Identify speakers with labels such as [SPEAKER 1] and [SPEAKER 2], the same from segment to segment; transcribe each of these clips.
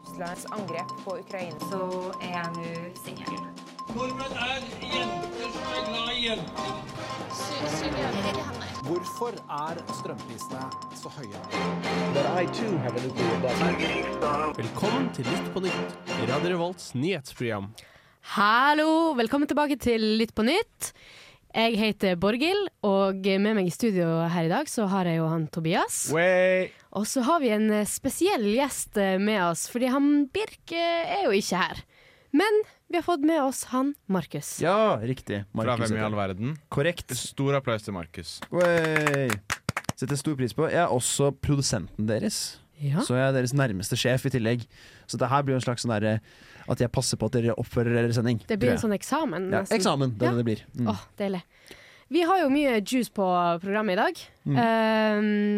[SPEAKER 1] Russlands angrep på Ukraina.
[SPEAKER 2] så er jeg nå singel.
[SPEAKER 3] Nordmenn er jenter som er glad i jenter.
[SPEAKER 4] Hvorfor er strømprisene så høye?
[SPEAKER 5] Velkommen til Lytt på nytt, Radio Revolts nyhetsprogram.
[SPEAKER 6] Hallo, velkommen tilbake til Lytt på nytt. Jeg heter Borghild, og med meg i studio her i dag så har jeg jo han Tobias. Og så har vi en eh, spesiell gjest eh, med oss, fordi han Birk eh, er jo ikke her. Men vi har fått med oss han Markus.
[SPEAKER 7] Ja, riktig.
[SPEAKER 8] Fra
[SPEAKER 7] Markus
[SPEAKER 8] hvem i
[SPEAKER 7] heter
[SPEAKER 8] all
[SPEAKER 7] jeg.
[SPEAKER 8] verden?
[SPEAKER 7] Korrekt.
[SPEAKER 8] Stor applaus til Markus.
[SPEAKER 7] Wey. Setter stor pris på. Jeg er også produsenten deres.
[SPEAKER 6] Ja.
[SPEAKER 7] Så jeg er deres nærmeste sjef i tillegg. Så det her blir jo en slags sånn derre at jeg passer på at dere oppfører deres sending.
[SPEAKER 6] Det blir en
[SPEAKER 7] tror jeg.
[SPEAKER 6] sånn eksamen.
[SPEAKER 7] ja,
[SPEAKER 6] nesten.
[SPEAKER 7] Eksamen, det er
[SPEAKER 6] Ja.
[SPEAKER 7] det det blir. Mm.
[SPEAKER 6] Åh, deilig. Vi har jo mye juice på programmet i dag.
[SPEAKER 7] Mm.
[SPEAKER 6] Ehm,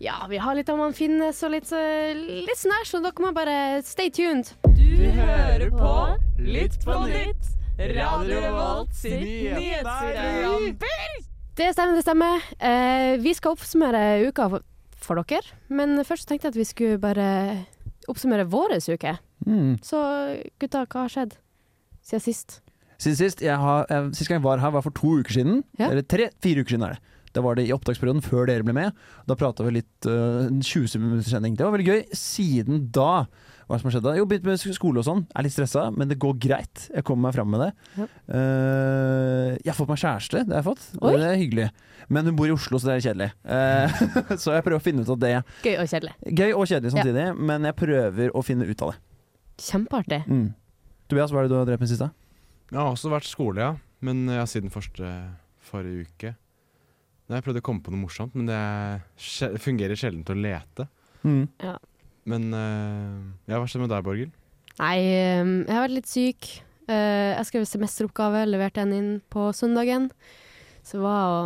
[SPEAKER 6] ja, vi har litt om han finnes og litt, eh, litt snær, så dere må bare stay tuned.
[SPEAKER 9] Du hører på Lytt på nytt, Radio Revolt sitt nyhetsprogram.
[SPEAKER 6] Det stemmer, det stemmer. Eh, vi skal oppsummere uka for, for dere, men først tenkte jeg at vi skulle bare oppsummere vår uke.
[SPEAKER 7] Mm.
[SPEAKER 6] Så gutta, hva har skjedd siden sist?
[SPEAKER 7] Siden sist jeg har, eh, Sist gang jeg var her, var for to uker siden.
[SPEAKER 6] Ja.
[SPEAKER 7] Eller tre, fire uker siden er det. Da var det i opptaksperioden før dere ble med. Da prata vi litt eh, en 20 minutter sending. Det var veldig gøy. Siden da, hva er det som har skjedd da? Jo, begynt med sk- skole og sånn. Er litt stressa, men det går greit. Jeg kommer meg fram med det.
[SPEAKER 6] Ja.
[SPEAKER 7] Eh, jeg har fått meg kjæreste, det har jeg fått.
[SPEAKER 6] Oi.
[SPEAKER 7] Det er hyggelig. Men hun bor i Oslo, så det er kjedelig. Eh, så jeg prøver å finne ut av det.
[SPEAKER 6] Gøy og kjedelig.
[SPEAKER 7] Gøy og kjedelig samtidig, men jeg prøver å finne ut av det.
[SPEAKER 6] Kjempeartig.
[SPEAKER 7] Mm. Tobias, hva er det du har drevet med sist? da?
[SPEAKER 8] Jeg har også vært skole, ja. Men ja, siden første forrige uke. Nei, jeg prøvde å komme på noe morsomt, men det er sje- fungerer sjelden til å lete.
[SPEAKER 7] Mm.
[SPEAKER 8] Men eh, ja, hva skjedde med deg, Borghild?
[SPEAKER 6] Nei, ehm, jeg har vært litt syk. Eh, jeg skrev semesteroppgave, leverte den inn på søndagen. Så det var å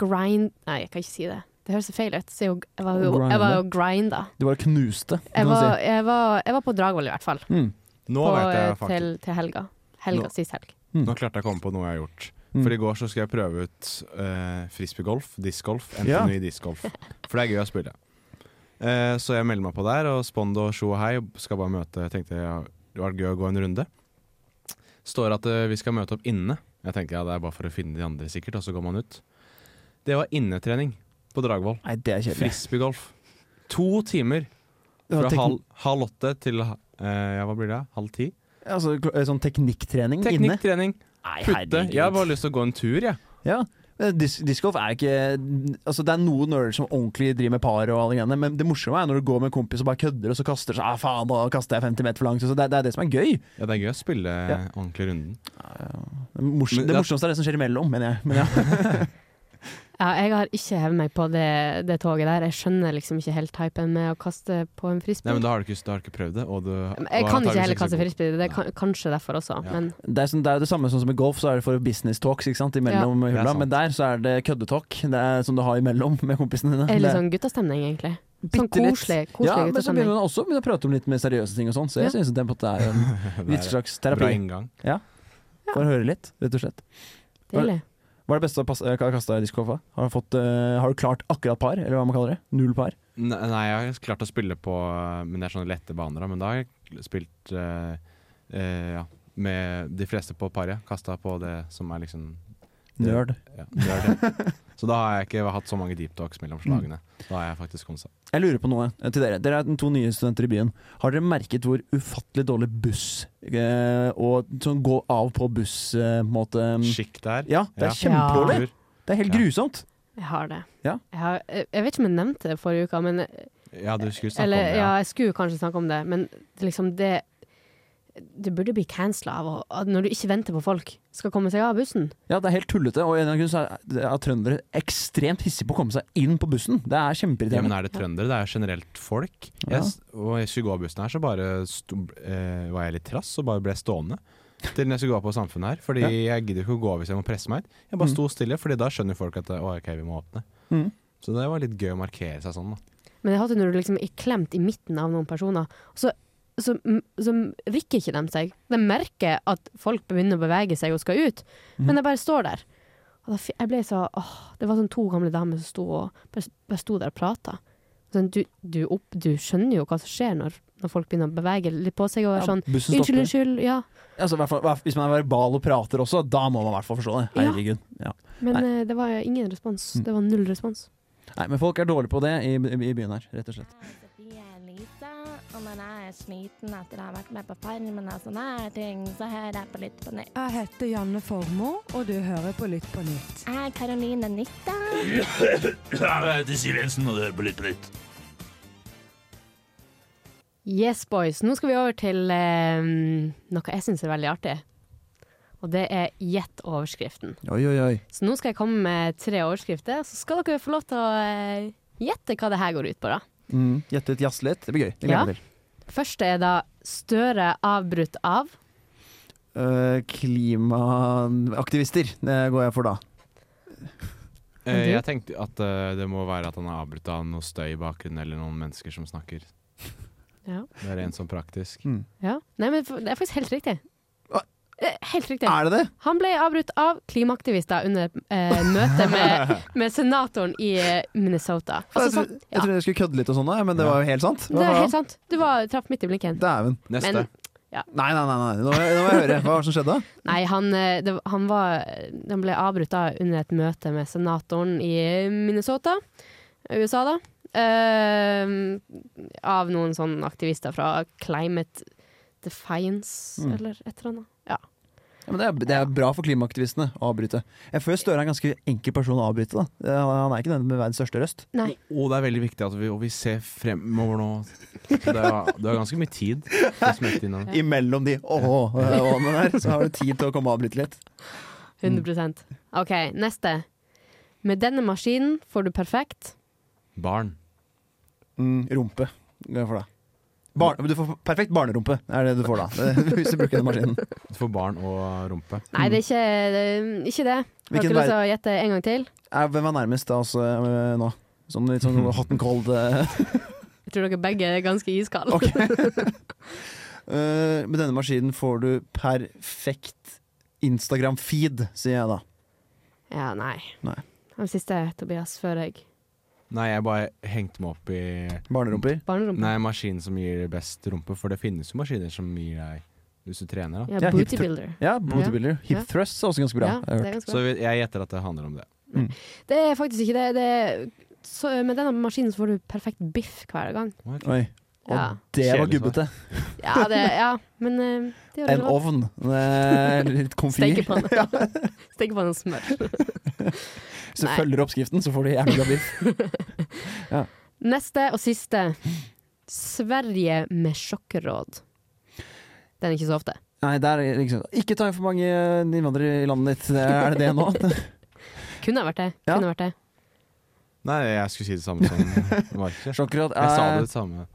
[SPEAKER 6] grind Nei, jeg kan ikke si det. Det høres så feil ut. Så jeg, jo- jeg var jo- jeg var jo grinda.
[SPEAKER 7] Du var knuste,
[SPEAKER 6] Jeg
[SPEAKER 7] kan man si.
[SPEAKER 6] var, jeg var, jeg var på Dragvoll i hvert fall.
[SPEAKER 7] Mm.
[SPEAKER 8] Nå
[SPEAKER 6] på,
[SPEAKER 8] vet jeg
[SPEAKER 6] eh,
[SPEAKER 8] faktisk.
[SPEAKER 6] til, til helga. Helga,
[SPEAKER 8] Nå-
[SPEAKER 6] Sist helg.
[SPEAKER 8] Nå klarte jeg å komme på noe jeg har gjort.
[SPEAKER 7] Mm.
[SPEAKER 8] For i går så skulle jeg prøve ut eh, frisbeegolf, discgolf,
[SPEAKER 7] Ja.
[SPEAKER 8] NTNU i discgolf. For det er gøy å spille. Eh, så jeg melder meg på der, og Spondo, Sjo og Hei skal bare møte. Jeg tenkte ja, det var gøy å gå en runde. Står at eh, vi skal møte opp inne. Jeg tenker ja, det er bare for å finne de andre sikkert, og så går man ut. Det var innetrening på Dragvoll.
[SPEAKER 7] Nei, det er kjedelig.
[SPEAKER 8] Frisbeegolf. To timer.
[SPEAKER 7] Det sånn var
[SPEAKER 8] Fra
[SPEAKER 7] tekn-
[SPEAKER 8] halv, halv åtte til eh, ja, hva blir det? Halv ti?
[SPEAKER 7] altså, kl- eh, sånn teknikktrening inne.
[SPEAKER 8] Teknikktrening.
[SPEAKER 7] Nei,
[SPEAKER 8] Putte. Jeg har bare lyst til å gå en tur, jeg.
[SPEAKER 7] Ja. Eh, Dis Discgolf er ikke Altså Det er noen nerder som ordentlig driver med par, og alle greiene men det morsomme er når du går med en kompis og bare kødder og så kaster så, ah, faen, da kaster jeg 50 meter for langt. Så det, det er det som er gøy.
[SPEAKER 8] Ja, det er gøy å spille
[SPEAKER 7] Ja.
[SPEAKER 8] ordentlig runden.
[SPEAKER 7] Det, mors
[SPEAKER 8] Men
[SPEAKER 7] det
[SPEAKER 8] da-
[SPEAKER 7] morsomste er det som skjer imellom, mener jeg. Men ja.
[SPEAKER 6] Ja, jeg har ikke hevet meg på det, det toget der. Jeg skjønner liksom ikke helt typen med å kaste på en
[SPEAKER 8] Nei,
[SPEAKER 6] frisbee.
[SPEAKER 8] men da har du ikke, da har du ikke prøvd det. Og du,
[SPEAKER 6] jeg kan ikke heller kaste frisbee, det er kan, kanskje derfor også.
[SPEAKER 8] Ja.
[SPEAKER 6] Men
[SPEAKER 7] det, er sånn, det er jo det samme som med golf, så er det for business talks ikke sant, imellom
[SPEAKER 8] Det er
[SPEAKER 7] hulla.
[SPEAKER 8] sant.
[SPEAKER 7] Men der så er det køddetalk det er som du har imellom med kompisene dine.
[SPEAKER 6] er det
[SPEAKER 7] Det
[SPEAKER 6] litt
[SPEAKER 7] er
[SPEAKER 6] sånn guttastemning, egentlig? Sånn
[SPEAKER 7] bitte litt.
[SPEAKER 6] koselig,
[SPEAKER 7] Ja,
[SPEAKER 6] koselig
[SPEAKER 7] men så
[SPEAKER 6] guttastemning.
[SPEAKER 7] begynner man også å begynne å prate om litt mer seriøse ting og sånn, så jeg
[SPEAKER 6] Ja.
[SPEAKER 7] synes det på en måte er en litt slags terapi.
[SPEAKER 8] Bra inngang.
[SPEAKER 7] For å høre litt, rett og slett.
[SPEAKER 6] Deilig.
[SPEAKER 7] Hva er det beste å passe- eh, kaste i discgolf? da? Har, du fått, eh, har du klart akkurat par, eller hva man kaller det? Null par?
[SPEAKER 8] Ne- Nei, jeg har klart å spille på Men det er sånne lette baner, da. Men da har jeg spilt eh, eh, ja, med de fleste på paret. Kasta på det som er liksom
[SPEAKER 7] Nerd.
[SPEAKER 8] ja, nerd, ja. Så da har jeg ikke hatt så mange deep talks
[SPEAKER 6] Mm.
[SPEAKER 8] mellom slagene. Da har jeg faktisk kommet seg.
[SPEAKER 7] Jeg lurer på noe eh, til dere. Dere er to nye studenter i byen. Har dere merket hvor ufattelig dårlig buss eh, og sånn gå av på buss eh, på en måte
[SPEAKER 6] Mm.
[SPEAKER 8] Skikk der.
[SPEAKER 7] Ja,
[SPEAKER 8] Ja.
[SPEAKER 7] det er kjempedårlig! Det er helt
[SPEAKER 8] Ja.
[SPEAKER 7] grusomt!
[SPEAKER 6] Jeg har det.
[SPEAKER 7] Ja.
[SPEAKER 6] Jeg, har, jeg jeg vet ikke om jeg nevnte det forrige uke, men
[SPEAKER 8] Ja, du skulle snakke
[SPEAKER 6] Eller
[SPEAKER 8] om det.
[SPEAKER 6] ja,
[SPEAKER 8] Ja.
[SPEAKER 6] jeg skulle kanskje snakke om det, men det liksom det Du burde bli cancela av å- at når du ikke venter på folk skal komme seg av bussen.
[SPEAKER 7] Ja, det er helt tullete, og en av grunnene så er- det er at trøndere er ekstremt hissige på å komme seg inn på bussen. Det er
[SPEAKER 8] Ja, men
[SPEAKER 7] kjempeirriterende.
[SPEAKER 8] er det trøndere? Det er jo generelt folk.
[SPEAKER 7] Ja.
[SPEAKER 8] Jeg, s- og jeg skulle gå av bussen her, så bare sto, eh, var jeg litt trass og bare ble stående. Til når jeg skulle gå av på Samfunnet her. Fordi jeg gidder ikke å gå av hvis jeg må presse meg ut. Jeg
[SPEAKER 6] Mm.
[SPEAKER 8] bare sto stille, Fordi da skjønner jo folk at å, ok, vi må åpne.
[SPEAKER 7] Mm.
[SPEAKER 8] Så det var litt gøy å markere seg sånn, da.
[SPEAKER 6] Men jeg hater når du liksom er klemt i midten av noen personer, så, så, så rikker ikke de seg. De merker at folk begynner å bevege seg og skal ut, men de bare står der. Og da, fi- jeg ble så, åh, det var sånn to gamle damer som sto og bare, bare sto der og prata. Sånn, du, du, opp, du skjønner jo hva som skjer når, når folk begynner å bevege litt på seg og er sånn
[SPEAKER 7] bussen
[SPEAKER 6] Unnskyld,
[SPEAKER 7] stopper.
[SPEAKER 6] unnskyld. Ja.
[SPEAKER 7] Altså, i hvert fall, hvis man er verbal og prater også, da må man i hvert fall forstå det.
[SPEAKER 6] Ja.
[SPEAKER 7] Herregud. Ja.
[SPEAKER 6] Men eh, det var ingen respons.
[SPEAKER 7] Mm.
[SPEAKER 6] Det var null respons.
[SPEAKER 7] Nei, men folk er dårlige på det i, i byen her, rett og slett.
[SPEAKER 10] Sofie Elise, og når jeg er sliten etter å ha vært med på Farmen og sånne her ting, så hører jeg på Lytt på nytt.
[SPEAKER 11] Jeg heter Janne Formoe, og du hører på Lytt på nytt.
[SPEAKER 10] Jeg er Karoline Nytta.
[SPEAKER 6] Yes, boys. Nå skal vi over til eh, noe jeg syns er veldig artig. Og det er gjett overskriften.
[SPEAKER 7] Oi, oi, oi.
[SPEAKER 6] Så nå skal jeg komme med tre overskrifter, så skal dere få lov til å eh, gjette hva det her går ut på, da.
[SPEAKER 7] Mm. Gjette et jazz litt. Det blir gøy. Det
[SPEAKER 6] Ja.
[SPEAKER 7] gleder jeg meg til.
[SPEAKER 6] Første er da Støre avbrutt av.
[SPEAKER 7] Eh, klimaaktivister det går jeg for da.
[SPEAKER 8] Eh,
[SPEAKER 6] du?
[SPEAKER 8] jeg tenkte at eh, det må være at han er avbrutt av noe støy i bakgrunnen, eller noen mennesker som snakker.
[SPEAKER 6] Ja.
[SPEAKER 8] Det er en sånn praktisk.
[SPEAKER 7] Mm.
[SPEAKER 6] Ja. Nei, men det er faktisk helt riktig.
[SPEAKER 7] Hva?
[SPEAKER 6] Eh, Helt riktig.
[SPEAKER 7] Er det det?
[SPEAKER 6] Han ble avbrutt av klimaaktivister under eh, møtet med, med senatoren i eh, Minnesota.
[SPEAKER 7] Jeg,
[SPEAKER 6] Altså,
[SPEAKER 7] tro,
[SPEAKER 6] sånn,
[SPEAKER 7] jeg
[SPEAKER 6] ja,
[SPEAKER 7] trodde jeg skulle kødde litt og sånn, da, men det
[SPEAKER 8] Ja.
[SPEAKER 7] var jo helt sant. Hva
[SPEAKER 6] det er
[SPEAKER 7] var
[SPEAKER 6] helt sant. Du var, traff midt i blinken.
[SPEAKER 7] Dæven.
[SPEAKER 8] Neste.
[SPEAKER 6] Men-
[SPEAKER 7] Nei, nei, nei, nei. Nå, må jeg, nå må jeg høre. Hva var det som skjedde?
[SPEAKER 6] Nei, han, eh, det, han, var, han ble avbrutt da under et møte med senatoren i Minnesota, USA da, eh, av noen sånne aktivister fra Climate Defiance,
[SPEAKER 7] Mm.
[SPEAKER 6] eller et eller annet.
[SPEAKER 7] Ja, men det, er, det er bra for klimaaktivistene å avbryte. Jeg føler Støre er en ganske enkel person å avbryte. da. Eh, Han er ikke den med verdens største røst.
[SPEAKER 6] Nei,
[SPEAKER 8] Og det er veldig viktig at vi, og vi ser fremover nå. Så Det er, det er ganske mye tid til å smette innom.
[SPEAKER 7] Imellom de åh åhene der, så har du tid til å komme og avbryte litt.
[SPEAKER 6] 100 Ok, neste. Med denne maskinen får du perfekt.
[SPEAKER 8] Barn.
[SPEAKER 7] Mm, rumpe. Går jeg for da. Barn, du får perfekt barnerumpe, er det du får da. Hvis du bruker den maskinen.
[SPEAKER 8] Du får barn og rumpe.
[SPEAKER 6] Nei, det er ikke det. er Ikke det. Har
[SPEAKER 7] Hvilken
[SPEAKER 6] dere lyst til
[SPEAKER 7] vei-
[SPEAKER 6] å gjette en gang til?
[SPEAKER 7] Eh, Hvem er nærmest da altså, eh, nå? Sånn litt sånn hot and cold. eh.
[SPEAKER 6] Jeg tror dere begge er ganske iskalde.
[SPEAKER 7] Ok. Eh, med denne maskinen får du perfekt Instagram-feed, sier jeg da.
[SPEAKER 6] Ja, nei.
[SPEAKER 7] Nei.
[SPEAKER 6] Den siste, Tobias, før jeg
[SPEAKER 8] Nei, jeg bare hengte meg opp i
[SPEAKER 7] Barnerumper.
[SPEAKER 6] Barnerumpa.
[SPEAKER 8] Nei, maskinen som gir best rumpe, for det finnes jo maskiner som gir deg hvis du trener. da
[SPEAKER 6] Ja,
[SPEAKER 7] Ja, hip
[SPEAKER 6] booty
[SPEAKER 7] thr-
[SPEAKER 6] builder.
[SPEAKER 7] Ja, bodybuilder. Hip
[SPEAKER 6] Ja.
[SPEAKER 7] thrust er også ganske bra.
[SPEAKER 6] Ja,
[SPEAKER 7] jeg har
[SPEAKER 6] det,
[SPEAKER 7] hørt.
[SPEAKER 6] er ganske
[SPEAKER 8] Så
[SPEAKER 6] bra.
[SPEAKER 8] jeg jeg gjetter at det handler om det.
[SPEAKER 6] det er faktisk ikke det. det er, så, med denne maskinen så får du perfekt biff hver gang.
[SPEAKER 7] Oi. Og
[SPEAKER 6] Ja,
[SPEAKER 7] det var
[SPEAKER 8] Kjedelig
[SPEAKER 7] gubbete.
[SPEAKER 6] ja, det, ja men eh, det gjør
[SPEAKER 7] En ovn. Eh, Litt komfyr.
[SPEAKER 6] Stekepanne. Stekepanne og smør.
[SPEAKER 7] Hvis du
[SPEAKER 6] Nei.
[SPEAKER 7] følger oppskriften, så får du jævlig bra biff.
[SPEAKER 6] Neste og siste. Sverige med sjokkråd. Den er ikke så ofte.
[SPEAKER 7] Nei, der er liksom Ikke ta inn for mange eh, innvandrere i landet ditt. Det- Er det det nå?
[SPEAKER 6] Kunne ha vært det.
[SPEAKER 7] Ja.
[SPEAKER 6] Kunne ha vært det.
[SPEAKER 8] Nei, jeg skulle si det samme som Markus. Jeg
[SPEAKER 7] Sjokkerad. Eh,
[SPEAKER 8] Jeg sa det samme.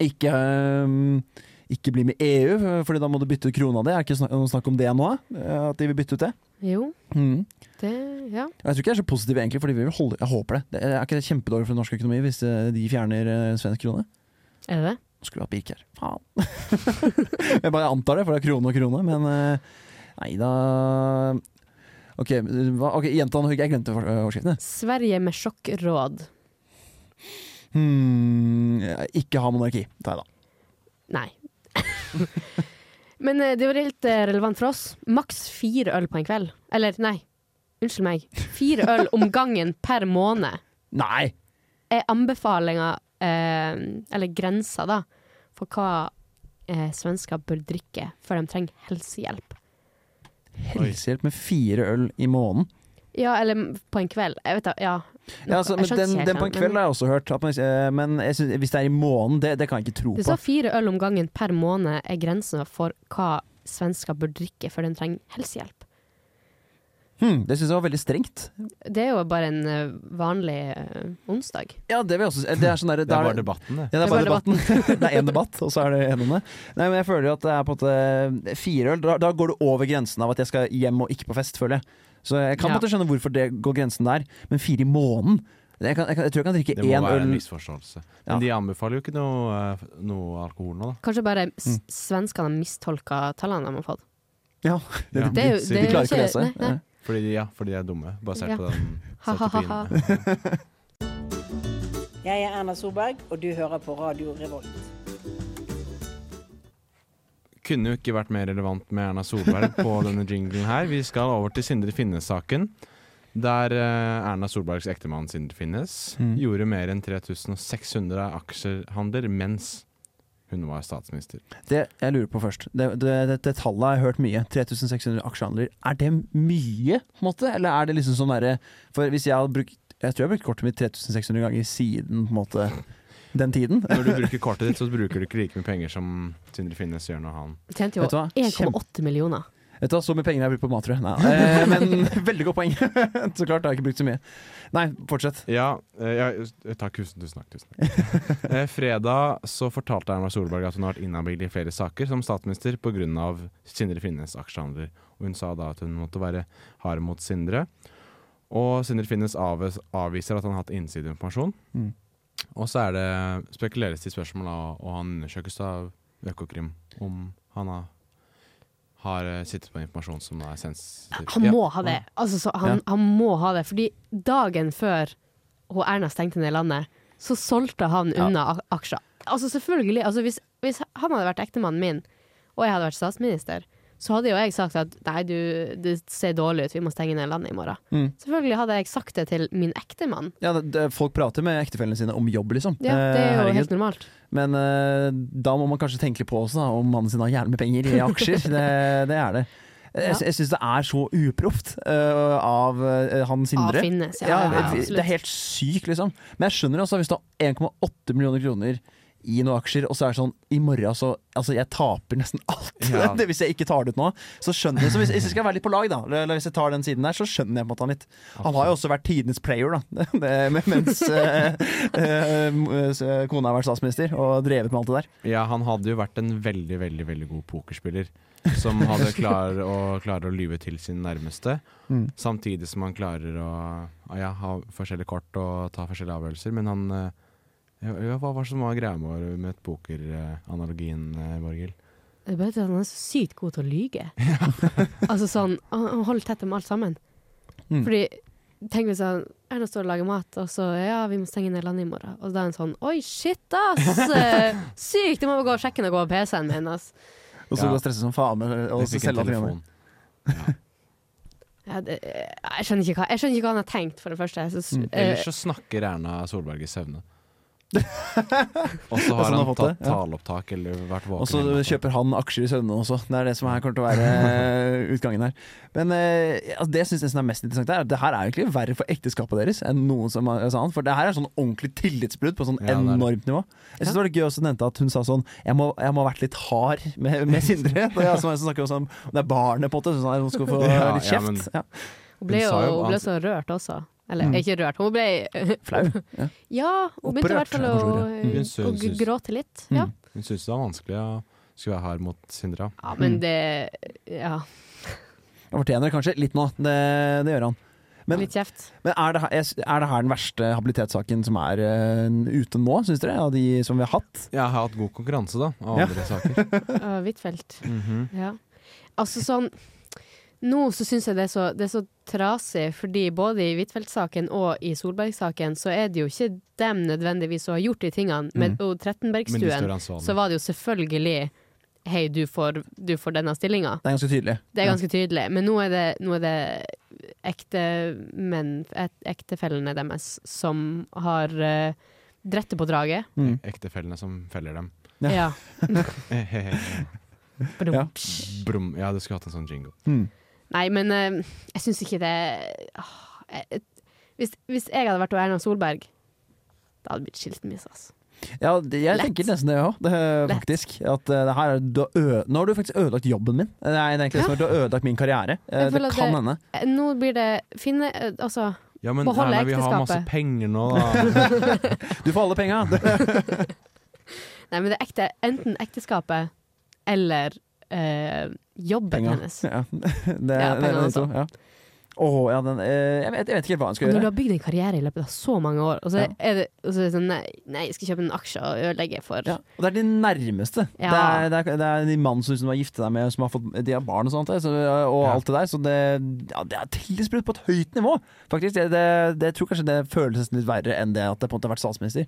[SPEAKER 7] Ikke, øhm, ikke bli med EU, fordi da må du bytte ut krona di. Er det ikke snak noe snakk om det nå? eh, At de vil bytte ut det?
[SPEAKER 6] Jo,
[SPEAKER 7] Mhm.
[SPEAKER 6] det Ja.
[SPEAKER 7] Og Jeg tror ikke det er så positive, egentlig, fordi vi vil holde Jeg håper det. det er ikke det kjempedårlig for norsk økonomi hvis eh, de fjerner eh, svensk krone?
[SPEAKER 6] Er det det?
[SPEAKER 7] Nå Skulle vi hatt Birk her. Faen. jeg bare antar det, for det er krone og krone, men eh, nei da Ok, hva? ok, gjenta den, Hugg. Jeg glemte for- øh, overskriftene.
[SPEAKER 6] Sverige med sjokkråd.
[SPEAKER 7] Hmm, ikke ha monarki, tar jeg da.
[SPEAKER 6] Nei. Men eh, det er jo helt eh, relevant for oss. Maks fire øl på en kveld. Eller, nei. Unnskyld meg. Fire øl om gangen per måned
[SPEAKER 7] Nei!
[SPEAKER 6] er anbefalinga, eh, eller grensa, da, for hva eh, svensker bør drikke før de trenger helsehjelp.
[SPEAKER 7] Helsehjelp med fire øl i måneden.
[SPEAKER 6] Ja, eller på en kveld. Jeg vet da, ja.
[SPEAKER 7] Ja, altså, men
[SPEAKER 6] Jeg skjønte
[SPEAKER 7] den,
[SPEAKER 6] ikke helt
[SPEAKER 7] den på en
[SPEAKER 6] den,
[SPEAKER 7] kveld
[SPEAKER 6] men-
[SPEAKER 7] har jeg også hørt. At man, eh, men jeg synes, hvis det er i måneden, det, det kan jeg ikke tro
[SPEAKER 6] Det
[SPEAKER 7] på.
[SPEAKER 6] står fire øl om gangen per måned er grensa for hva svensker bør drikke før de trenger helsehjelp.
[SPEAKER 7] Hmm, det syns jeg var veldig strengt.
[SPEAKER 6] Det er jo bare en eh, vanlig eh, onsdag.
[SPEAKER 7] Ja, det vil jeg også si. Det er sånn der,
[SPEAKER 8] Det
[SPEAKER 7] der-
[SPEAKER 8] var debatten, det.
[SPEAKER 7] Ja, det er bare
[SPEAKER 6] Det er bare
[SPEAKER 7] debatten. det er én debatt, og så er det en om det. Nei, men jeg føler jo at det er på en måte fire øl. Da, da går det over grensen av at jeg skal hjem og ikke på fest, føler jeg. Så jeg kan på en
[SPEAKER 6] Ja.
[SPEAKER 7] måte skjønne hvorfor det går grensen der, men fire i måneden? Jeg, kan, jeg, kan, jeg tror jeg kan drikke
[SPEAKER 8] Det må
[SPEAKER 7] én
[SPEAKER 8] være en
[SPEAKER 7] øl
[SPEAKER 8] misforståelse. Men
[SPEAKER 7] Ja.
[SPEAKER 8] de anbefaler jo ikke noe, eh, noe alkohol nå, da.
[SPEAKER 6] Kanskje bare s-
[SPEAKER 7] Mm.
[SPEAKER 6] svenskene har mistolka tallene de har fått.
[SPEAKER 7] Ja,
[SPEAKER 8] Ja.
[SPEAKER 6] Det er jo,
[SPEAKER 8] Sikkert.
[SPEAKER 7] De
[SPEAKER 6] det er jo
[SPEAKER 7] klarer
[SPEAKER 6] ikke
[SPEAKER 7] ikke å lese.
[SPEAKER 6] Nei, nei.
[SPEAKER 8] Fordi de, ja, fordi de er dumme, basert
[SPEAKER 6] Ja.
[SPEAKER 8] på den
[SPEAKER 6] Ha, ha, ha, ha.
[SPEAKER 8] strategien.
[SPEAKER 12] Jeg er Erna Solberg, og du hører på Radio Revolt.
[SPEAKER 8] Kunne jo ikke vært mer relevant med Erna Solberg på denne jinglen her. Vi skal over til Sindre Finnes-saken. Der eh, Erna Solbergs ektemann Sindre Finnes
[SPEAKER 7] Mm.
[SPEAKER 8] gjorde mer enn 3600 aksjehandler mens hun var statsminister.
[SPEAKER 7] Det jeg lurer på først. Det, det, det, det tallet har jeg hørt mye. 3600 aksjehandler. Er det mye, på en måte? Eller er det liksom sånn derre For hvis jeg hadde brukt Jeg tror jeg har brukt kortet mitt 3600 ganger siden på en måte den tiden.
[SPEAKER 8] Når du bruker kortet ditt, så bruker du ikke like mye penger som Sindre Finnes gjør når han
[SPEAKER 6] Tjente jo
[SPEAKER 7] Vet du hva?
[SPEAKER 6] 1,8 millioner.
[SPEAKER 7] Vet du hva, så mye penger jeg har brukt på mat, tror jeg. Nei, eh, men veldig godt poeng. så klart, jeg har ikke brukt så mye. Nei, fortsett.
[SPEAKER 8] Ja, eh, ja eh, takk, tusen, tusen takk. Tusen takk. Eh, fredag så fortalte Erna Solberg at hun har vært inhabil i flere saker som statsminister pga. Sindre Finnes aksjehandler. Og hun sa da at hun måtte være hard mot Sindre. Og Sindre Finnes avvis- avviser at han har hatt innsideinformasjon.
[SPEAKER 7] Mm.
[SPEAKER 8] Og så er det spekuleres i spørsmål, av- og han undersøkes av Økokrim om han har, har eh, sittet på informasjon som er sensitiv.
[SPEAKER 6] Han
[SPEAKER 8] Ja.
[SPEAKER 6] må ha det. Altså, så han, han må ha det. Fordi dagen før hun Erna stengte ned landet, så solgte han
[SPEAKER 7] Ja.
[SPEAKER 6] unna a- aksjer. Altså selvfølgelig, altså, hvis, hvis han hadde vært ektemannen min, og jeg hadde vært statsminister, så hadde jo jeg sagt at nei, du, det ser dårlig ut, vi må stenge ned landet i morgen.
[SPEAKER 7] Mm.
[SPEAKER 6] Selvfølgelig hadde jeg sagt det til min ektemann.
[SPEAKER 7] Ja, det, det, folk prater med ektefellene sine om jobb, liksom.
[SPEAKER 6] Ja, det er
[SPEAKER 7] Eh,
[SPEAKER 6] jo
[SPEAKER 7] herregud.
[SPEAKER 6] helt normalt.
[SPEAKER 7] Men eh, da må man kanskje tenke litt på også, da, om mannen sin har jævlig med penger i aksjer. det, det er det. Jeg,
[SPEAKER 6] Ja.
[SPEAKER 7] jeg syns det er så uproft eh, av eh, han Sindre.
[SPEAKER 6] Av Finnes, ja, ja, ja,
[SPEAKER 7] det er helt sykt, liksom. Men jeg skjønner også hvis du har 1,8 millioner kroner i noen aksjer, og så er det sånn i morgen så Altså, jeg taper nesten alt.
[SPEAKER 8] Ja.
[SPEAKER 7] det, hvis jeg ikke tar det ut nå, så skjønner jeg så hvis, hvis jeg skal være litt på lag, da, eller- eller hvis jeg tar den siden der, så skjønner jeg på en måte han litt. Han har jo også vært tidenes player, da. Det, mens eh, eh, eh, kona har vært statsminister og drevet med alt det der.
[SPEAKER 8] Ja, han hadde jo vært en veldig, veldig veldig god pokerspiller. Som hadde klarer å, klarer å lyve til sin nærmeste.
[SPEAKER 7] Mm.
[SPEAKER 8] Samtidig som han klarer å ja, ha forskjellige kort og ta forskjellige avgjørelser. Men han eh, ja, ja, Hva var det som var greia med, med pokeranalogien, eh, Borghild?
[SPEAKER 6] Det er bare at han er så sykt god til å lyge. altså sånn, han han holder tett om alt sammen.
[SPEAKER 7] Mm.
[SPEAKER 6] Fordi, tenk hvis han Erna står og lager mat, og så ja, vi må stenge ned landet i morgen. Og da er han sånn oi, shit ass! Eh, Sykt! Jeg må gå og sjekke noe på PC-en min. ass.
[SPEAKER 7] Og så
[SPEAKER 8] Ja.
[SPEAKER 7] går jeg stresset som faen med og
[SPEAKER 8] Jeg
[SPEAKER 7] så
[SPEAKER 8] fikk en
[SPEAKER 7] selger alt
[SPEAKER 8] telefon.
[SPEAKER 7] programmet.
[SPEAKER 6] Ja, det, eh, jeg, skjønner ikke hva, jeg skjønner ikke hva han har tenkt, for det første. Jeg synes,
[SPEAKER 7] Mm,
[SPEAKER 6] eh,
[SPEAKER 8] Ellers så snakker Erna Solberg i søvne. og så
[SPEAKER 7] Det er
[SPEAKER 8] har
[SPEAKER 7] sånn
[SPEAKER 8] han
[SPEAKER 7] han har fått
[SPEAKER 8] tatt
[SPEAKER 7] det, ja.
[SPEAKER 8] taleopptak eller vært våken.
[SPEAKER 7] Og så
[SPEAKER 8] hele natta.
[SPEAKER 7] kjøper han aksjer i søvne også. Det er det som her kommer til å være eh, utgangen her. Men eh, altså, det jeg syns nesten er mest interessant, er at det her er egentlig verre for ekteskapet deres enn noen som har sa han. For det her er sånn ordentlig tillitsbrudd på sånn
[SPEAKER 8] Ja, det er det.
[SPEAKER 7] enormt nivå. Jeg syns det var litt gøy også hun nevnte at hun sa sånn Jeg må, jeg må ha vært litt hard med, med Sindre. Det er jeg som som snakker også om sånn, om det er barnet, på en måte. Sånn at hun skal få
[SPEAKER 8] Ja,
[SPEAKER 7] litt
[SPEAKER 8] ja, men-
[SPEAKER 7] kjeft. Ja,
[SPEAKER 6] hun ble
[SPEAKER 8] hun
[SPEAKER 6] jo
[SPEAKER 8] sa jo
[SPEAKER 6] hun ble
[SPEAKER 8] han-
[SPEAKER 6] så rørt også. Eller
[SPEAKER 7] Mm.
[SPEAKER 6] ikke rørt, hun ble
[SPEAKER 7] Flau. Ja.
[SPEAKER 6] Ja, hun
[SPEAKER 7] Opprørt,
[SPEAKER 6] begynte i hvert fall
[SPEAKER 7] er
[SPEAKER 6] å,
[SPEAKER 7] kanskje ordet.
[SPEAKER 8] Mm. Hun
[SPEAKER 6] å,
[SPEAKER 8] synes-
[SPEAKER 6] å gråte litt. Ja.
[SPEAKER 7] Mm.
[SPEAKER 8] Hun syntes det var vanskelig å skulle være hard mot Sindre.
[SPEAKER 6] ja,
[SPEAKER 7] Mm.
[SPEAKER 6] men det Ja,
[SPEAKER 7] Han fortjener det kanskje litt nå. Det, det gjør han. Men-
[SPEAKER 6] litt kjeft.
[SPEAKER 7] Men er det, her- jeg sy- er det her den verste habilitetssaken som er eh, ute nå, syns dere? Av de som vi har hatt?
[SPEAKER 8] Jeg har hatt god konkurranse, da, av
[SPEAKER 7] Ja.
[SPEAKER 8] andre saker.
[SPEAKER 6] Uh, Huitfeldt.
[SPEAKER 8] Mhm.
[SPEAKER 6] Ja. Altså sånn Nå så syns jeg det er så, det er så trasig, fordi både i Huitfeldt-saken og i Solberg-saken så er det jo ikke dem nødvendigvis som har gjort de tingene. Med
[SPEAKER 7] Mhm.
[SPEAKER 8] Mm. Men de sånn
[SPEAKER 6] og
[SPEAKER 8] står
[SPEAKER 6] Trettenbergstuen
[SPEAKER 8] ansvarlig.
[SPEAKER 6] så var det jo selvfølgelig Hei, du får, du får denne stillinga.
[SPEAKER 7] Det er ganske tydelig.
[SPEAKER 6] Det er ganske tydelig. Men nå er det, nå er det ekte menn, ek- ektefellene deres, som har eh, drette på draget.
[SPEAKER 7] Mm.
[SPEAKER 8] Ektefellene som feller dem.
[SPEAKER 7] Ja.
[SPEAKER 6] Ja.
[SPEAKER 7] Ja.
[SPEAKER 8] Brum. Ja, du skulle hatt en sånn jingo.
[SPEAKER 7] Mm.
[SPEAKER 6] Nei, men eh, jeg syns ikke det Åh, jeg, jeg- hvis, hvis jeg hadde vært Erna Solberg, da hadde det blitt skilsmisse. Altså.
[SPEAKER 7] Ja, det, jeg
[SPEAKER 6] Lett.
[SPEAKER 7] tenker nesten det òg,
[SPEAKER 6] Lett.
[SPEAKER 7] faktisk. At eh, det her, er- du har ø nå har du faktisk ødelagt jobben min. Eh, Nei, det er egentlig det som er, du har ødelagt min karriere. Eh,
[SPEAKER 6] Jeg
[SPEAKER 7] det
[SPEAKER 6] føler at
[SPEAKER 7] kan
[SPEAKER 6] det-
[SPEAKER 7] hende.
[SPEAKER 6] Eh, Nå blir det finne eh, Altså,
[SPEAKER 8] Ja, men
[SPEAKER 6] Beholde
[SPEAKER 8] Erna, vi har masse
[SPEAKER 6] ekteskapet.
[SPEAKER 8] penger nå, da.
[SPEAKER 7] Du får alle penga!
[SPEAKER 6] nei, men det er ekte, enten ekteskapet eller eh, jobben
[SPEAKER 7] Penga.
[SPEAKER 6] hennes.
[SPEAKER 7] Ja. Det, det,
[SPEAKER 6] Ja,
[SPEAKER 7] er
[SPEAKER 6] penger
[SPEAKER 7] de to,
[SPEAKER 6] også.
[SPEAKER 7] ja. Åh, ja, den, eh, jeg, vet, jeg vet ikke helt hva han skal
[SPEAKER 6] Og når du
[SPEAKER 7] gjøre.
[SPEAKER 6] har bygd en karriere i løpet av så mange år, og så
[SPEAKER 7] Ja.
[SPEAKER 6] er det, og så er det sånn nei, nei, jeg skal kjøpe en aksje og ødelegge for
[SPEAKER 7] Og det er de nærmeste.
[SPEAKER 6] Ja.
[SPEAKER 7] Det, er, det, er, det er de mannen som du har giftet deg med, som har fått de har barn og sånt, eh, så, og alt det der. Så det, ja, det er tillitsbrudd på et høyt nivå, faktisk. Det, det, det, jeg tror kanskje det føles nesten litt verre enn det at det på en måte har vært statsminister.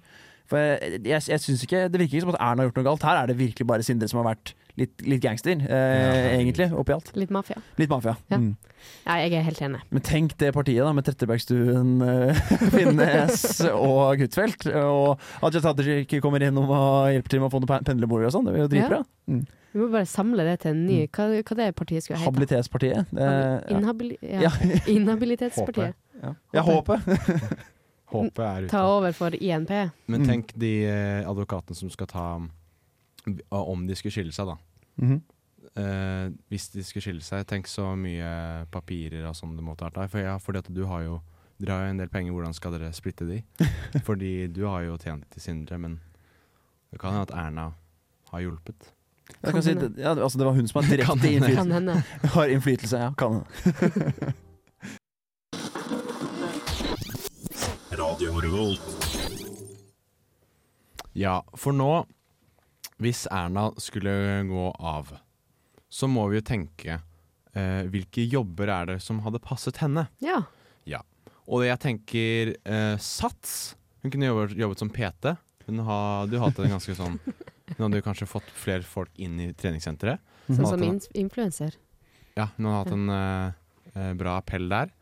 [SPEAKER 7] For jeg, jeg, jeg synes ikke, Det virker ikke som at Erna har gjort noe galt. Her er det virkelig bare Sindre som har vært litt, litt gangster, eh, egentlig, oppi alt.
[SPEAKER 6] litt mafia.
[SPEAKER 7] Litt mafia.
[SPEAKER 6] Ja.
[SPEAKER 7] Mm.
[SPEAKER 6] Ja, jeg er helt enig.
[SPEAKER 7] Men tenk det partiet da, med Trettebergstuen, eh, Finnes og Huitfeldt. Og Hadia Tajik kommer innom og hjelper til med å få noen pen- pendlerboliger og sånn. Det blir jo dritbra.
[SPEAKER 6] Ja. Vi må bare samle det til en ny Hva, hva det partiet skulle hete?
[SPEAKER 7] Habilitetspartiet. Det, Mm. ja.
[SPEAKER 6] Inhabili ja. Inhabilitetspartiet.
[SPEAKER 7] Ja. ja, håpet.
[SPEAKER 8] Håpet er ute.
[SPEAKER 6] Ta over for INP.
[SPEAKER 8] Men tenk de eh, advokatene som skal ta eh, Om de skulle skille seg, da.
[SPEAKER 7] Mhm.
[SPEAKER 8] Eh, hvis de skulle skille seg, tenk så mye papirer og sånn det måtte vært der. For ja, fordi at du har jo Dere har jo en del penger, hvordan skal dere splitte de? Fordi du har jo tjent til Sindre, men det kan hende at Erna har hjulpet.
[SPEAKER 7] Jeg kan si,
[SPEAKER 6] hende.
[SPEAKER 7] ja, altså, det var hun som har
[SPEAKER 8] Kan
[SPEAKER 7] direkte
[SPEAKER 8] hende.
[SPEAKER 6] Kan
[SPEAKER 7] innflytelse.
[SPEAKER 6] hende.
[SPEAKER 7] Har innflytelse, ja. Kan hende.
[SPEAKER 8] Ja, for nå, hvis Erna skulle gå av, så må vi jo tenke eh, hvilke jobber er det som hadde passet henne?
[SPEAKER 6] Ja.
[SPEAKER 8] Og jeg tenker eh, Sats. Hun kunne jobbet, jobbet som PT. Hun hadde jo hatt en ganske sånn Hun hadde jo kanskje fått flere folk inn i treningssenteret.
[SPEAKER 7] Mhm.
[SPEAKER 6] Sånn
[SPEAKER 8] Hatt
[SPEAKER 6] som
[SPEAKER 8] en-
[SPEAKER 6] ins- influenser.
[SPEAKER 8] Ja, hun hadde hatt en eh, eh, bra appell der.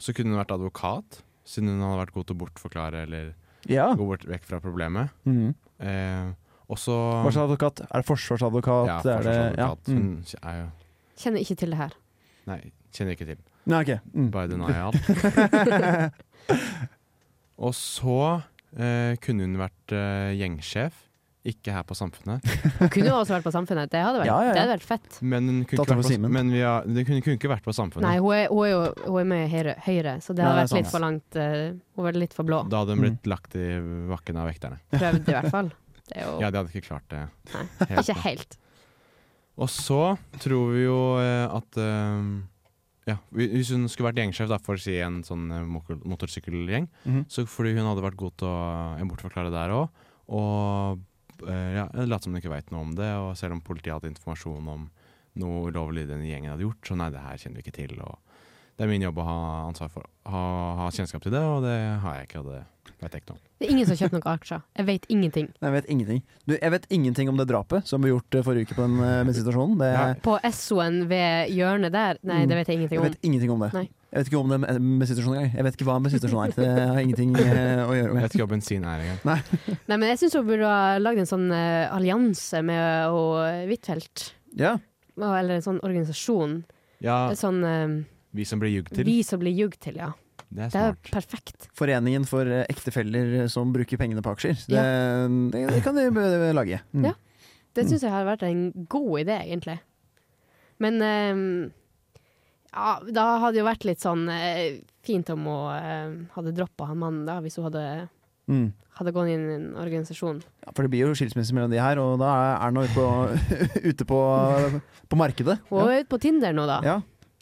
[SPEAKER 8] Så kunne hun vært advokat, siden hun hadde vært god til å bortforklare eller
[SPEAKER 7] Ja.
[SPEAKER 8] gå bort vekk fra problemet.
[SPEAKER 7] Mhm.
[SPEAKER 8] Eh, og så
[SPEAKER 7] Hva slags advokat? Er det forsvarsadvokat?
[SPEAKER 8] Ja,
[SPEAKER 7] Er det- Um, ja.
[SPEAKER 8] forsvarsadvokat. Hun
[SPEAKER 7] Mm.
[SPEAKER 8] er jo
[SPEAKER 6] Kjenner ikke til det her.
[SPEAKER 8] Nei, kjenner ikke til.
[SPEAKER 7] Nei, ok. Mm.
[SPEAKER 8] By denial. og så eh, kunne hun vært eh, gjengsjef. Ikke her på Samfunnet.
[SPEAKER 6] Hun kunne jo også vært på Samfunnet. Det hadde vært,
[SPEAKER 7] Ja, ja, ja.
[SPEAKER 6] Det hadde vært fett.
[SPEAKER 8] Men hun kunne,
[SPEAKER 7] Datter
[SPEAKER 8] ikke vært
[SPEAKER 7] for
[SPEAKER 8] på,
[SPEAKER 7] Simen.
[SPEAKER 8] men vi har, det kunne, kunne ikke vært på
[SPEAKER 6] Nei,
[SPEAKER 8] Samfunnet.
[SPEAKER 6] hun er, hun er jo hun er med i Høyre, høyre så det
[SPEAKER 7] Nei,
[SPEAKER 6] hadde
[SPEAKER 7] det er
[SPEAKER 6] vært litt
[SPEAKER 7] sant.
[SPEAKER 6] for langt. eh, hun var litt for blå.
[SPEAKER 8] Da hadde hun blitt
[SPEAKER 7] Mm.
[SPEAKER 8] lagt i bakken av vekterne.
[SPEAKER 6] Prøvd i hvert fall. Det er jo
[SPEAKER 8] Ja, de hadde ikke klart det.
[SPEAKER 6] ikke helt.
[SPEAKER 8] Og så tror vi jo eh, at eh, ja, Hvis hun skulle vært gjengsjef da, for å si en sånn eh, mok- motorsykkelgjeng,
[SPEAKER 7] Mhm.
[SPEAKER 8] så fordi hun hadde vært god til å eh, bortforklare der òg, og eh, ja, late som hun ikke veit noe om det, og selv om politiet hadde informasjon om noe ulovlig den gjengen hadde gjort, så nei, det her kjenner vi ikke til. Og det er min jobb å ha ansvar for ha, ha kjennskap til det, og det har jeg ikke, og det vet jeg ikke noe om.
[SPEAKER 6] Det er ingen som kjøper noen aksjer. Jeg vet ingenting.
[SPEAKER 7] Nei, Jeg vet ingenting. Du, jeg vet ingenting om det drapet som ble gjort eh, forrige uke på den eh, bensinstasjonen. Det,
[SPEAKER 8] Nei.
[SPEAKER 6] På SO-en ved hjørnet der, nei, det vet jeg ingenting
[SPEAKER 7] Jeg
[SPEAKER 6] om.
[SPEAKER 7] vet ingenting om det.
[SPEAKER 6] Nei.
[SPEAKER 7] Jeg vet ikke om det er en bensinstasjon engang. Jeg vet ikke hva en bensinstasjon er. Det har ingenting eh, å gjøre
[SPEAKER 8] Jeg
[SPEAKER 7] med.
[SPEAKER 8] vet ikke hva bensin er engang.
[SPEAKER 6] Nei, men jeg syns hun burde ha lagd en sånn eh, allianse med uh, Huitfeldt.
[SPEAKER 7] Ja,
[SPEAKER 6] Og- Eller en sånn organisasjon.
[SPEAKER 8] Ja,
[SPEAKER 6] En Sånn eh,
[SPEAKER 8] vi som blir jugd til.
[SPEAKER 6] Vi som blir jugd til, ja.
[SPEAKER 8] Det er
[SPEAKER 6] Det er jo
[SPEAKER 8] smart.
[SPEAKER 6] perfekt.
[SPEAKER 7] Foreningen for eh, ektefeller som bruker pengene på aksjer. Det, det, det kan de eh, lage. Mm.
[SPEAKER 6] Ja. Det syns jeg har vært en god idé, egentlig. Men eh, ja, da hadde det jo vært litt sånn eh, fint om hun eh, hadde droppa han mannen, da, hvis hun hadde,
[SPEAKER 7] Mm.
[SPEAKER 6] hadde gått inn i en organisasjon.
[SPEAKER 7] Ja, for det blir jo skilsmisse mellom de her, og da er Erna ute på, ute på, på markedet.
[SPEAKER 6] Hun er ute på Tinder nå, da.
[SPEAKER 7] Ja.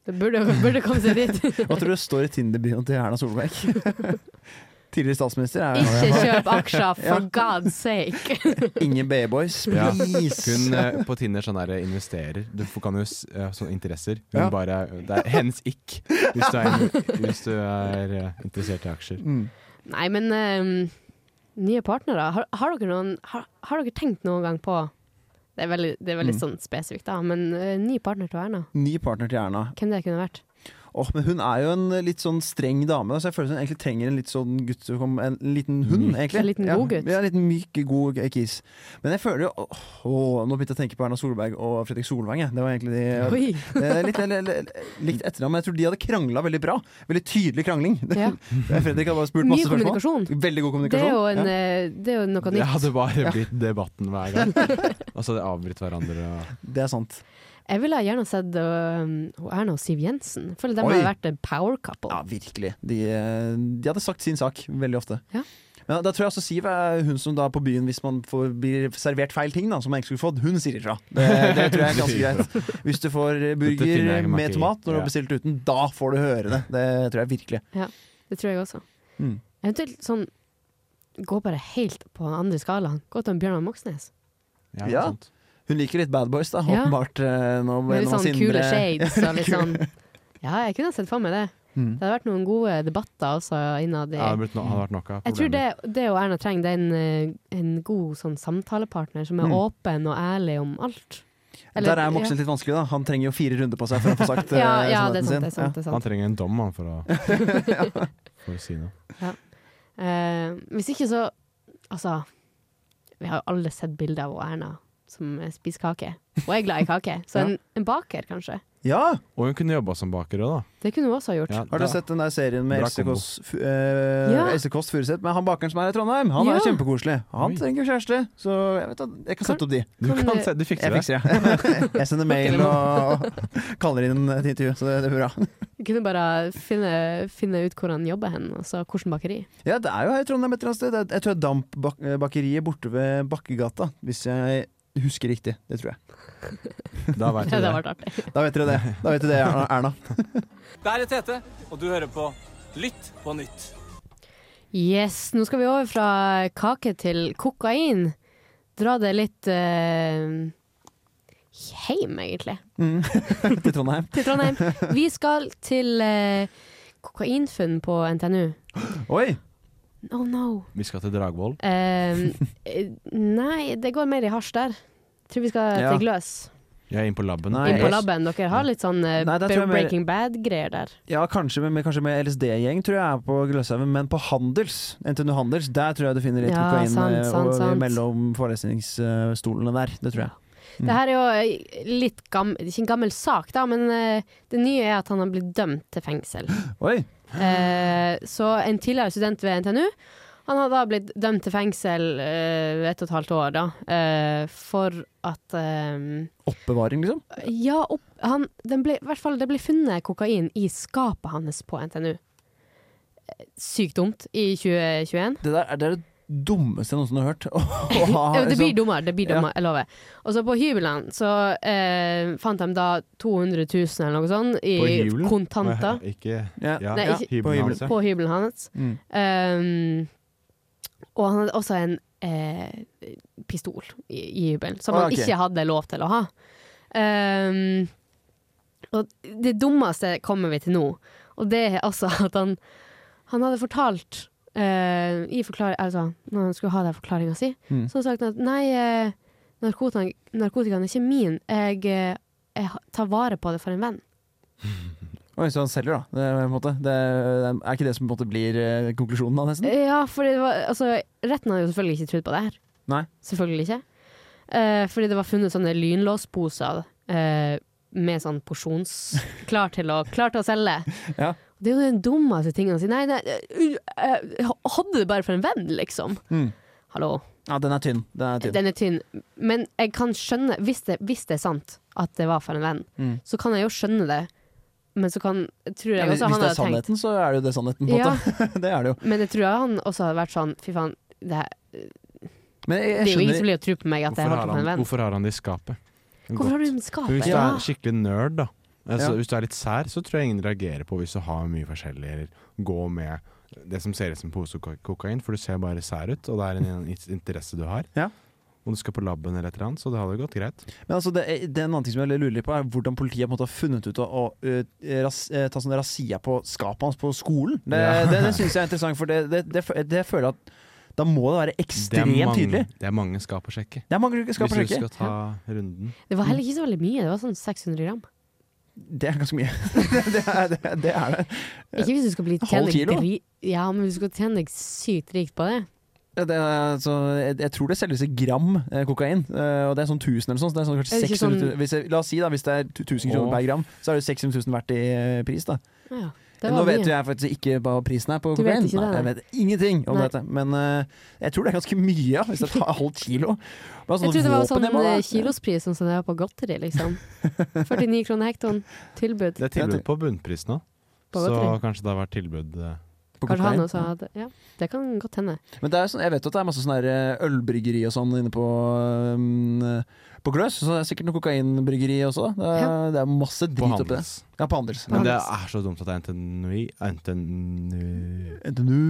[SPEAKER 6] Det burde, burde komme seg dit.
[SPEAKER 7] Hva tror du det står i Tinder-bioen til Erna Solberg? Tidligere statsminister er
[SPEAKER 6] Ikke kjøp aksjer,
[SPEAKER 7] Ja.
[SPEAKER 6] for god's sake!
[SPEAKER 7] Ingen B-boys,
[SPEAKER 8] Ja.
[SPEAKER 7] please!
[SPEAKER 8] Hun eh, på Tinder sånn der investerer. Du får- kan jo s- eh, sånne interesser. Hun
[SPEAKER 7] Ja.
[SPEAKER 8] bare, eh, det er hennes ikk hvis du er, hvis du er eh, interessert i aksjer.
[SPEAKER 7] Mm.
[SPEAKER 6] Nei, men ehm, nye partnere. Har, har, dere noen, har, har dere tenkt noen gang på Det er veldig, det er
[SPEAKER 7] Mm.
[SPEAKER 6] veldig sånn spesifikt, da, men eh, ny partner til Erna.
[SPEAKER 7] Ny partner til Erna.
[SPEAKER 6] Hvem det kunne vært?
[SPEAKER 7] Åh, men hun er jo en litt sånn streng dame, da, så jeg føler hun egentlig trenger en litt sånn gutt som kom- En liten hund, egentlig.
[SPEAKER 6] En liten
[SPEAKER 7] ja,
[SPEAKER 6] god gutt.
[SPEAKER 7] Ja, en liten myk, god kis. Men jeg føler jo åh, åh, Nå begynte jeg å tenke på Erna Solberg og Fredrik Solvang, jeg. Det var egentlig de
[SPEAKER 6] Oi!
[SPEAKER 7] eh, Litt eller- eller- likt etternavn, men jeg tror de hadde krangla veldig bra. Veldig tydelig krangling.
[SPEAKER 6] Ja.
[SPEAKER 7] Fredrik hadde bare spurt
[SPEAKER 6] Mye
[SPEAKER 7] masse spørsmål.
[SPEAKER 6] kommunikasjon.
[SPEAKER 7] Veldig god kommunikasjon.
[SPEAKER 6] Det er jo, en,
[SPEAKER 7] ja.
[SPEAKER 6] eh, det er jo noe
[SPEAKER 8] Det
[SPEAKER 6] nytt.
[SPEAKER 8] hadde bare blitt debatten hver gang. Og så hadde de avbrutt hverandre. Og
[SPEAKER 7] Det er sant.
[SPEAKER 6] Jeg ville gjerne sett ehm, hun Erna og Siv Jensen. Jeg føler de
[SPEAKER 7] Oi.
[SPEAKER 6] hadde vært en power couple.
[SPEAKER 7] Ja, virkelig. De, eh, de hadde sagt sin sak veldig ofte.
[SPEAKER 6] Ja.
[SPEAKER 7] Men da tror jeg også Siv er hun som da på byen, hvis man får, blir servert feil ting, da, som man ikke skulle fått, hun sier ifra. Det, det tror jeg er ganske greit. Hvis du får eh,
[SPEAKER 8] Dette finner jeg
[SPEAKER 7] burger
[SPEAKER 8] ikke meg i.
[SPEAKER 7] med tomat når du har bestilt uten, da får du høre det. Det tror jeg virkelig.
[SPEAKER 6] Ja, det tror jeg også.
[SPEAKER 7] Mm.
[SPEAKER 6] Eventuelt sånn Gå bare helt på den andre skalaen. Gå til en Bjørnar Moxnes.
[SPEAKER 7] Ja, Hun liker litt Bad Boys, da,
[SPEAKER 6] Ja.
[SPEAKER 7] åpenbart. eh, Nå,
[SPEAKER 6] Med litt
[SPEAKER 7] nå
[SPEAKER 6] sånn
[SPEAKER 7] Sindre-
[SPEAKER 6] kule shades og litt sånn Ja, jeg kunne sett for meg det.
[SPEAKER 7] Mm.
[SPEAKER 6] Det hadde vært noen gode debatter også innad i
[SPEAKER 8] Ja, det hadde blitt no- hadde vært nok av
[SPEAKER 6] Jeg tror det,
[SPEAKER 8] problemer.
[SPEAKER 6] det og Erna trenger, det er en, eh, en god sånn samtalepartner som er
[SPEAKER 7] Mm.
[SPEAKER 6] åpen og ærlig om alt.
[SPEAKER 7] Der er Moxnes litt vanskelig, da. Han trenger jo fire runder på seg for å få sagt eh,
[SPEAKER 6] Ja, ja,
[SPEAKER 7] sannheten
[SPEAKER 6] det er sant,
[SPEAKER 7] sin.
[SPEAKER 6] det er sant, det er sant.
[SPEAKER 8] Han trenger en dom han, for, å, for å si noe.
[SPEAKER 6] Ja. Eh, hvis ikke så Altså, vi har jo alle sett bilder av Erna som eh, spiser kake. Og er glad i kake. Så en, en baker, kanskje.
[SPEAKER 7] Ja.
[SPEAKER 8] Og hun kunne jobba som baker òg, da.
[SPEAKER 6] Det kunne hun også ha gjort.
[SPEAKER 8] Ja,
[SPEAKER 7] Har
[SPEAKER 8] da-
[SPEAKER 7] du sett den der serien med
[SPEAKER 8] Bra
[SPEAKER 7] Else
[SPEAKER 8] kombo.
[SPEAKER 7] Kåss Fu- eh,
[SPEAKER 6] Ja.
[SPEAKER 7] Else Kåss Furuseth? Men han bakeren som er i Trondheim, han
[SPEAKER 6] Ja.
[SPEAKER 7] er kjempekoselig. Han
[SPEAKER 8] Oi.
[SPEAKER 7] trenger kjæreste, så jeg, vet at, jeg kan sette opp de.
[SPEAKER 8] Du
[SPEAKER 6] Kan
[SPEAKER 8] kan
[SPEAKER 6] du-
[SPEAKER 8] se, du fikser
[SPEAKER 7] Jeg
[SPEAKER 8] det.
[SPEAKER 7] fikser det. Jeg sender mail og, og kaller inn et intervju, så det, det blir bra.
[SPEAKER 6] Vi kunne bare finne, finne ut hvor han jobber hen, og så hvilket bakeri.
[SPEAKER 7] Ja, det er jo her i Trondheim et eller annet sted. Det er- Jeg tror det er Dampbakeriet borte ved Bakkegata, hvis jeg husker riktig. Det tror jeg.
[SPEAKER 8] Da vet du
[SPEAKER 6] Ja, det
[SPEAKER 8] det.
[SPEAKER 6] hadde vært artig.
[SPEAKER 7] Da vet dere det, Da vet dere det Erna- Erna.
[SPEAKER 13] Der er Tete, og du hører på Lytt på nytt.
[SPEAKER 6] Yes, nå skal vi over fra kake til kokain. Dra det litt eh, hjem, egentlig.
[SPEAKER 7] Mm. Til Trondheim.
[SPEAKER 6] Til Trondheim. Vi skal til eh, kokainfunn på NTNU.
[SPEAKER 7] Oi!
[SPEAKER 6] Oh no.
[SPEAKER 8] Vi skal til Dragvoll.
[SPEAKER 6] Ehm, eh, nei, det går mer i hasj der. Tror vi skal
[SPEAKER 8] Ja.
[SPEAKER 6] til gløs.
[SPEAKER 8] Jeg er inne på laben.
[SPEAKER 7] Nei,
[SPEAKER 6] Inn på
[SPEAKER 7] jeg-
[SPEAKER 6] laben. Dere har litt sånn eh,
[SPEAKER 7] Nei, der tror jeg mer-
[SPEAKER 6] Breaking Bad-greier der.
[SPEAKER 7] Ja, kanskje med, med- kanskje med LSD-gjeng tror jeg er på Gløshaugen, men på Handels, NTNU Handels, der tror jeg du finner litt
[SPEAKER 6] Ja,
[SPEAKER 7] kokain
[SPEAKER 6] sant,
[SPEAKER 7] eh,
[SPEAKER 6] sant,
[SPEAKER 7] og-
[SPEAKER 6] sant.
[SPEAKER 7] mellom forelesningsstolene der. Det tror jeg. Mm.
[SPEAKER 6] Det her er jo eh, litt gammel, ikke en gammel sak, da, men eh, det nye er at han har blitt dømt til fengsel.
[SPEAKER 7] Oi!
[SPEAKER 6] Eh, så en tidligere student ved NTNU Han har da blitt dømt til fengsel eh, ett og et halvt år, da, eh, for at eh,
[SPEAKER 7] Oppbevaring, liksom?
[SPEAKER 6] Ja, opp, han, den ble, i hvert fall det ble funnet kokain i skapet hans på NTNU. Eh, Sykt dumt i 2021.
[SPEAKER 7] Det der er det, er det dummeste jeg noensinne har hørt. Å ha,
[SPEAKER 6] Ja, det blir
[SPEAKER 7] liksom-
[SPEAKER 6] dummere, det blir dummere, jeg lover. Og så på hybelen så eh, fant de da 200 000 eller noe sånt
[SPEAKER 8] På
[SPEAKER 6] i
[SPEAKER 8] hybelen?
[SPEAKER 6] kontanter.
[SPEAKER 8] Nei, Ikke
[SPEAKER 7] Ja.
[SPEAKER 8] ja,
[SPEAKER 6] Nei, ikke-
[SPEAKER 8] hybelen hans, ja.
[SPEAKER 6] På hybelen hans.
[SPEAKER 7] Mm.
[SPEAKER 6] Um, og han hadde også en eh, pistol i, i hybelen, som
[SPEAKER 9] Ah,
[SPEAKER 6] han
[SPEAKER 9] ok.
[SPEAKER 6] ikke hadde lov til å ha. Um, og det dummeste kommer vi til nå, og det er altså at han, han hadde fortalt eh, i forklaring, altså, Når han skulle ha den forklaringa si,
[SPEAKER 9] Mm.
[SPEAKER 6] så hadde han sagt at nei, eh, narkotika, narkotikaen er ikke min, jeg, eh, jeg tar vare på det for en venn.
[SPEAKER 7] Oi, så han selger, da. Det, er på en måte. det, er- er ikke det som på en måte blir eh, konklusjonen da, nesten?
[SPEAKER 6] Ja, for det var, altså, retten hadde jo selvfølgelig ikke trodd på det her.
[SPEAKER 7] Nei.
[SPEAKER 6] Selvfølgelig ikke. Eh, fordi det var funnet sånne lynlåsposer eh, med sånn porsjons... Klar til å, klar til å selge.
[SPEAKER 7] Ja.
[SPEAKER 6] Det er jo den dummeste tingen å si. Nei, nei eh, eh, hadde det bare for en venn, liksom.
[SPEAKER 7] Mm.
[SPEAKER 6] Hallo.
[SPEAKER 7] Ja, den er tynn. Den er tynn.
[SPEAKER 6] Den er tynn. Men jeg kan skjønne, hvis det, hvis det er sant at det var for en venn,
[SPEAKER 7] Mm.
[SPEAKER 6] så kan jeg jo skjønne det. Men så kan, tror
[SPEAKER 7] Ja,
[SPEAKER 6] jeg
[SPEAKER 7] hvis, hvis
[SPEAKER 6] også han
[SPEAKER 7] det er
[SPEAKER 6] hadde tenkt
[SPEAKER 7] sannheten, så er det jo det sannheten, på en
[SPEAKER 6] Ja.
[SPEAKER 7] måte. det er det jo.
[SPEAKER 6] Men jeg tror han også hadde vært sånn Fy faen, det, her-
[SPEAKER 7] Men jeg,
[SPEAKER 6] det
[SPEAKER 7] jeg
[SPEAKER 6] er jo ingen
[SPEAKER 7] skjønner-
[SPEAKER 6] som blir å tro på meg at jeg
[SPEAKER 8] Hvorfor
[SPEAKER 6] holder
[SPEAKER 8] har,
[SPEAKER 6] på med en
[SPEAKER 8] han,
[SPEAKER 6] venn.
[SPEAKER 8] hvorfor har han det i skapet?
[SPEAKER 6] Hvorfor har du den i
[SPEAKER 8] Men
[SPEAKER 6] skapet?
[SPEAKER 8] Hvis du
[SPEAKER 6] Ja.
[SPEAKER 8] er skikkelig nerd, da. Altså,
[SPEAKER 7] Ja.
[SPEAKER 8] Hvis du er litt sær, så tror jeg ingen reagerer på hvis du har mye forskjellig, eller går med det som ser ut som en pose koka- kokain, for du ser bare sær ut, og det er en, en in- interesse du har. Om du skal på laben eller et eller annet, så det hadde gått greit.
[SPEAKER 7] Men altså, det, er- det er en annen ting som jeg lurer litt på, er hvordan politiet på en måte har funnet ut å, å ø, ras, eh, ta sånne razziaer på skapet hans på skolen. Det,
[SPEAKER 8] Ja.
[SPEAKER 7] det, det syns jeg er interessant, for det, det, det, fø- det føler jeg at da må det
[SPEAKER 8] Det
[SPEAKER 7] være
[SPEAKER 8] er
[SPEAKER 7] ekstremt
[SPEAKER 8] mange,
[SPEAKER 7] tydelig.
[SPEAKER 8] det er mange skap å sjekke.
[SPEAKER 7] Det er mange du skal på
[SPEAKER 8] Hvis du
[SPEAKER 7] sjekke.
[SPEAKER 8] skal ta runden.
[SPEAKER 6] Det var heller ikke så veldig mye, det var sånn 600 gram.
[SPEAKER 7] Det er ganske mye. det, er, det, det er det.
[SPEAKER 6] Ikke hvis du skal bli
[SPEAKER 7] Halv
[SPEAKER 6] tjene deg
[SPEAKER 7] kilo?
[SPEAKER 6] dri- Ja, men hvis du skal tjene deg sykt rikt på det.
[SPEAKER 7] Ja, det er, altså, jeg, jeg tror det selges i gram eh, kokain, eh, og det er sånn 1000 eller sånn. Så det er sånn kanskje
[SPEAKER 6] Er det ikke
[SPEAKER 7] 600
[SPEAKER 6] sånn-
[SPEAKER 7] 000 hvis jeg, La oss si da, hvis det er 1000 kroner
[SPEAKER 8] Åh.
[SPEAKER 7] per gram, så er det 600 000 verdt i eh, pris. da
[SPEAKER 6] Ja, det
[SPEAKER 7] Nå
[SPEAKER 6] var
[SPEAKER 7] vet jo
[SPEAKER 6] mye.
[SPEAKER 7] jeg faktisk ikke hva prisen er på
[SPEAKER 6] Du vet
[SPEAKER 7] kokain.
[SPEAKER 6] ikke det,
[SPEAKER 7] Nei, jeg
[SPEAKER 6] nei.
[SPEAKER 7] vet ingenting om
[SPEAKER 6] Nei.
[SPEAKER 7] dette. Men eh, jeg tror det er ganske mye, ja, hvis det tar halvt kilo. Bare
[SPEAKER 6] Jeg
[SPEAKER 7] sånne
[SPEAKER 6] trodde det var
[SPEAKER 7] våpen
[SPEAKER 6] sånn
[SPEAKER 7] jeg må ha.
[SPEAKER 6] eh, kilospris sånn som det var på godteri, liksom. 49 kroner hektoen, tilbud.
[SPEAKER 8] Det er tilbud på bunnpris nå,
[SPEAKER 6] På
[SPEAKER 8] så
[SPEAKER 6] godteri.
[SPEAKER 8] kanskje det har vært tilbud eh,
[SPEAKER 7] På
[SPEAKER 6] Kanskje han
[SPEAKER 7] Kokain?
[SPEAKER 6] også hadde Ja, det kan godt hende.
[SPEAKER 7] Men det er sånn, jeg vet jo at det er masse sånn her, eh, ølbryggeri og sånn inne på, um, på Gløs, så det er sikkert noe kokainbryggeri også. Det er, det er masse drit oppi det.
[SPEAKER 8] Handels.
[SPEAKER 7] Ja, på Handels.
[SPEAKER 8] Men det er så dumt at det er NTNUI NTNU
[SPEAKER 7] NTNU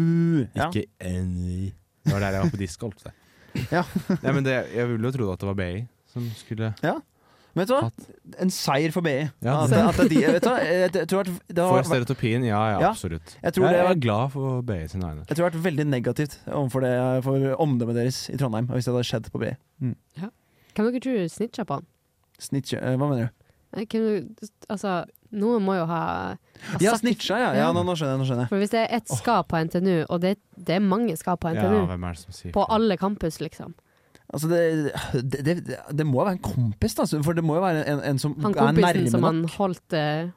[SPEAKER 7] ja.
[SPEAKER 8] Ikke NUI. Det var der jeg var på disk, holdt jeg på å si. Nei, men det, jeg ville jo trodd at det var BI som skulle
[SPEAKER 7] Ja. Men vet du hva? En seier for BI.
[SPEAKER 8] Ja,
[SPEAKER 7] at,
[SPEAKER 8] det-
[SPEAKER 7] at det er de, vet du, hva? jeg, jeg tror at det har
[SPEAKER 8] For
[SPEAKER 7] vært-
[SPEAKER 8] stereotypien, ja, ja,
[SPEAKER 7] Ja.
[SPEAKER 8] absolutt.
[SPEAKER 7] Jeg tror det
[SPEAKER 8] jeg
[SPEAKER 7] var-
[SPEAKER 8] er glad for BI sine øyne.
[SPEAKER 7] Jeg tror det har vært veldig negativt overfor det, for omdømmet deres i Trondheim. Hvis det hadde skjedd på BI. Mm.
[SPEAKER 6] Ja. Hvem dere tror snitcha på han?
[SPEAKER 7] Snitch, eh, hva mener du?
[SPEAKER 6] Nei, Hvem, altså, noen må jo ha ha
[SPEAKER 7] Ja,
[SPEAKER 6] sagt-
[SPEAKER 7] snitcha, ja. ja nå, nå skjønner jeg. Nå skjønner jeg.
[SPEAKER 6] For hvis det er ett skap på NTNU, og det, det er mange skap på
[SPEAKER 7] Ja,
[SPEAKER 6] NTNU,
[SPEAKER 7] hvem er det som sier
[SPEAKER 6] på alle campus, liksom
[SPEAKER 7] Altså det, det, det, det må jo være en kompis, da. For det må jo være en, en som er
[SPEAKER 6] Han kompisen
[SPEAKER 7] nærme
[SPEAKER 6] som han
[SPEAKER 7] nok.
[SPEAKER 6] holdt eh,